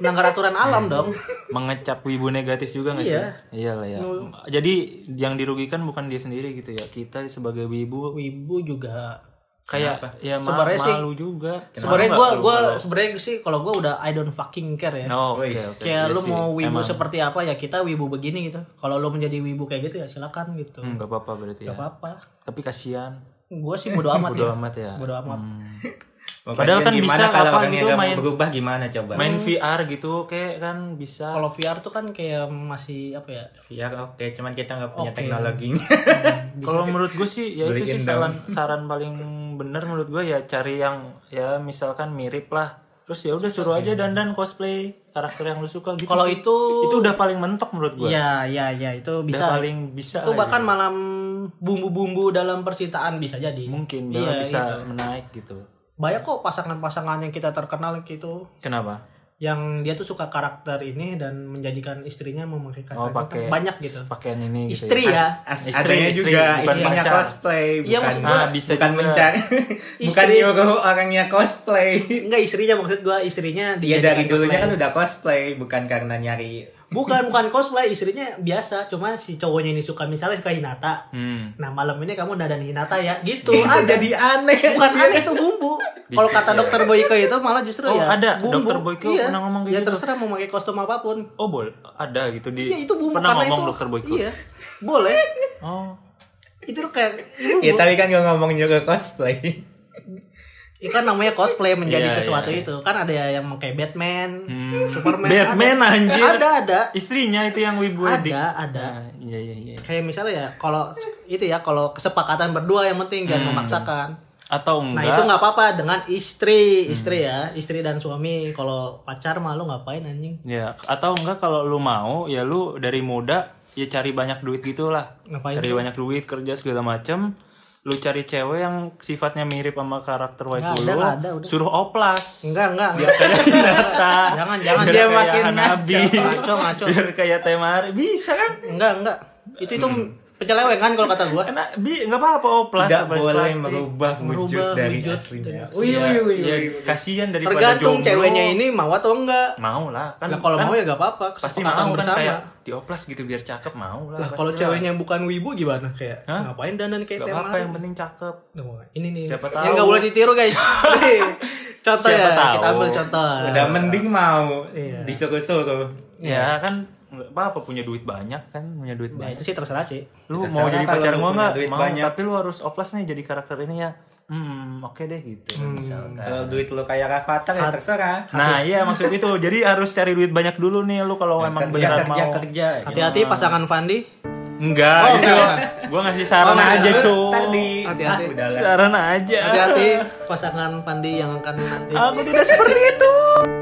A: melanggar aturan alam
B: Iya.
A: dong
B: mengecap wibu negatif juga nggak
A: Iya.
B: sih? Iya lah ya. Jadi yang dirugikan bukan dia sendiri gitu ya. Kita sebagai wibu
A: wibu juga
B: kayak ya ma-
A: Sebenarnya sih-
B: malu juga.
A: sebenarnya gue gue sebenarnya sih kalau gue udah I don't fucking care ya
B: No, oke oke.
A: kayak
B: Iya
A: lu
B: sih.
A: mau wibu seperti apa ya kita wibu begini gitu kalau lu menjadi wibu kayak gitu ya silakan gitu
B: Hmm, nggak apa-apa berarti
A: Nggak
B: ya.
A: apa-apa
B: Tapi kasihan.
A: gue sih bodo amat
B: Bodo
A: ya
B: amat ya.
A: bodo amat
C: Mau
B: Padahal
C: kasihan
B: kan
C: ya, gimana
B: bisa
C: kalau
B: apa
C: orangnya
B: gitu
C: nggak mau
B: main-
C: berubah gimana coba?
B: Main VR gitu kayak kan bisa.
A: kalau VR tuh kan kayak masih apa ya
B: Iya.
C: Ya oke, cuman kita nggak punya
A: Oke.
C: teknologinya.
B: Kalau menurut gue sih ya itu
C: Beliin
B: sih saran saran paling bener menurut gue ya cari yang ya misalkan mirip lah. Terus ya udah suruh aja dandan cosplay karakter yang lu suka
A: Iya.
B: gitu.
A: kalau
B: sih.
A: itu
B: itu udah paling mentok menurut gue.
A: ya ya ya itu bisa
B: bisa paling bisa
A: itu
B: lah ya.
A: bahkan malam bumbu-bumbu dalam percintaan bisa jadi
B: gitu. mungkin dia
A: iya,
B: bisa
A: gitu.
B: menaik gitu
A: banyak kok pasangan-pasangan yang kita terkenal gitu
B: kenapa
A: yang dia tuh suka karakter ini dan menjadikan istrinya memakai karakter
B: oh
A: itu.
B: pakai
A: banyak gitu
B: pakaian ini gitu
A: istri
B: ya.
A: ya
C: As-
B: Istri,
C: adanya
B: istri,
C: juga
B: bukan
C: istrinya
B: pacar.
C: cosplay,
A: Iya,
C: bukan
A: maksud
B: gua- Ah, bisa
C: bukan
B: juga.
C: mencari, bukan
A: Istri.
C: nyuruh orangnya cosplay.
A: enggak istrinya maksud gua istrinya
C: Iya
A: dia
C: dari dulunya kan udah cosplay, bukan karena nyari.
A: bukan bukan cosplay istrinya biasa cuma si cowoknya ini suka misalnya suka Hinata
B: hmm.
A: nah malam ini kamu dadan Hinata ya gitu
C: Itu
A: ada
C: jadi aneh.
A: bukan aneh itu bumbu kalau kata dokter Boyko itu malah justru
B: ya. Oh,
A: ya
B: ada.
A: bumbu
B: Dokter Boyko pernah ngomong kayak
A: ya
B: gitu.
A: terserah mau pakai kostum apapun
B: oh boleh ada gitu di
A: ya itu bumbu
B: pernah
A: karena
B: ngomong
A: itu
B: dokter Boyko
A: iya boleh
B: oh
A: itu tuh kayak
B: Iya.
C: Ya
A: bumbu.
C: tapi kan gak ngomong juga cosplay.
A: Ya kan namanya cosplay menjadi
B: Iya,
A: sesuatu
B: iya,
A: itu kan ada yang pakai Batman
B: Hmm.
A: Superman
B: Batman,
A: ada.
B: anjir.
A: ada ada
B: istrinya itu yang wibu edik
A: ada ada
B: Ah, iya iya iya
A: kayak misalnya ya kalau itu ya kalau kesepakatan berdua yang penting jangan
B: Hmm.
A: memaksakan
B: atau
A: nah
B: enggak
A: itu nggak apa-apa dengan istri istri ya istri dan suami kalau pacar mah lu ngapain anjing
B: ya atau enggak kalau lu mau ya lu dari muda ya cari banyak duit gitulah
A: ngapain
B: cari banyak duit kerja segala macem lu cari cewek yang sifatnya mirip sama karakter waifu
A: Nggak ada,
B: lu
A: nggak ada, udah.
B: suruh oplas
A: Enggak, enggak.
B: biar kayak Hinata
A: Jangan, jangan.
B: biar
A: Dia
B: kayak
C: makin
B: Hanabi
A: Ngaco, ngaco.
B: biar kayak Temari bisa kan
A: Enggak, enggak. Itu itu
B: Hmm.
A: penyelewengan kalau kata gua.
B: kena bi nggak apa-apa oplas
C: Tidak
B: oplas
C: boleh
B: plastik.
C: merubah wujud
A: Merubah
C: dari
A: wujud
C: aslinya.
A: dari-
C: Wih,
B: ya,
C: wih, wih,
B: ya,
C: wih.
B: kasihan daripada
A: Tergantung
B: jomblo.
A: ceweknya ini mau atau enggak.
B: mau lah kan
A: Nah, kalau
B: kan
A: mau ya gak apa-apa,
B: pasti
A: kesepakatan
B: mau kan
A: bersama.
B: kayak dioplas gitu biar cakep mau lah
A: Lah
B: pasti
A: kalau
B: lah.
A: ceweknya bukan wibu gimana kayak
B: Hah?
A: ngapain dandan kayak
B: nggak
A: tema
B: apa-apa yang penting cakep
A: Nah, ini nih
B: Siapa
A: yang
B: tahu.
A: nggak boleh ditiru guys. Nih, contoh
B: Siapa
A: ya,
B: tahu.
A: kita ambil contoh.
C: Udah mending mau
A: Iya.
C: disuruh-suruh.
B: ya kan nggak apa-apa punya duit banyak kan punya duit
A: Nah,
B: banyak
A: itu sih terserah sih.
B: lu
C: Terserah
B: mau jadi
C: kalau
B: pacar
C: lu
B: gua
C: punya
B: nggak
C: duit
B: mau
C: banyak.
B: tapi lu harus oplas nih jadi karakter ini ya hmm oke deh gitu misalkan
C: Kalau duit lu kayak Rafathar ya terserah.
B: nah iya maksud itu jadi harus cari duit banyak dulu nih lu kalau emang
C: kerja,
B: beneran
C: kerja,
B: mau
C: kerja. ya.
A: Hati-hati pasangan Fandi.
B: enggak
A: Oh,
B: gitu
A: enggak.
B: gua ngasih saran
A: Oh,
B: aja
A: enggak.
B: cuy
C: Ntar di
A: Hati-hati.
C: Ah, udah lah.
B: saran aja Oh,
A: Hati-hati pasangan Fandi yang akan nanti.
B: aku tidak seperti itu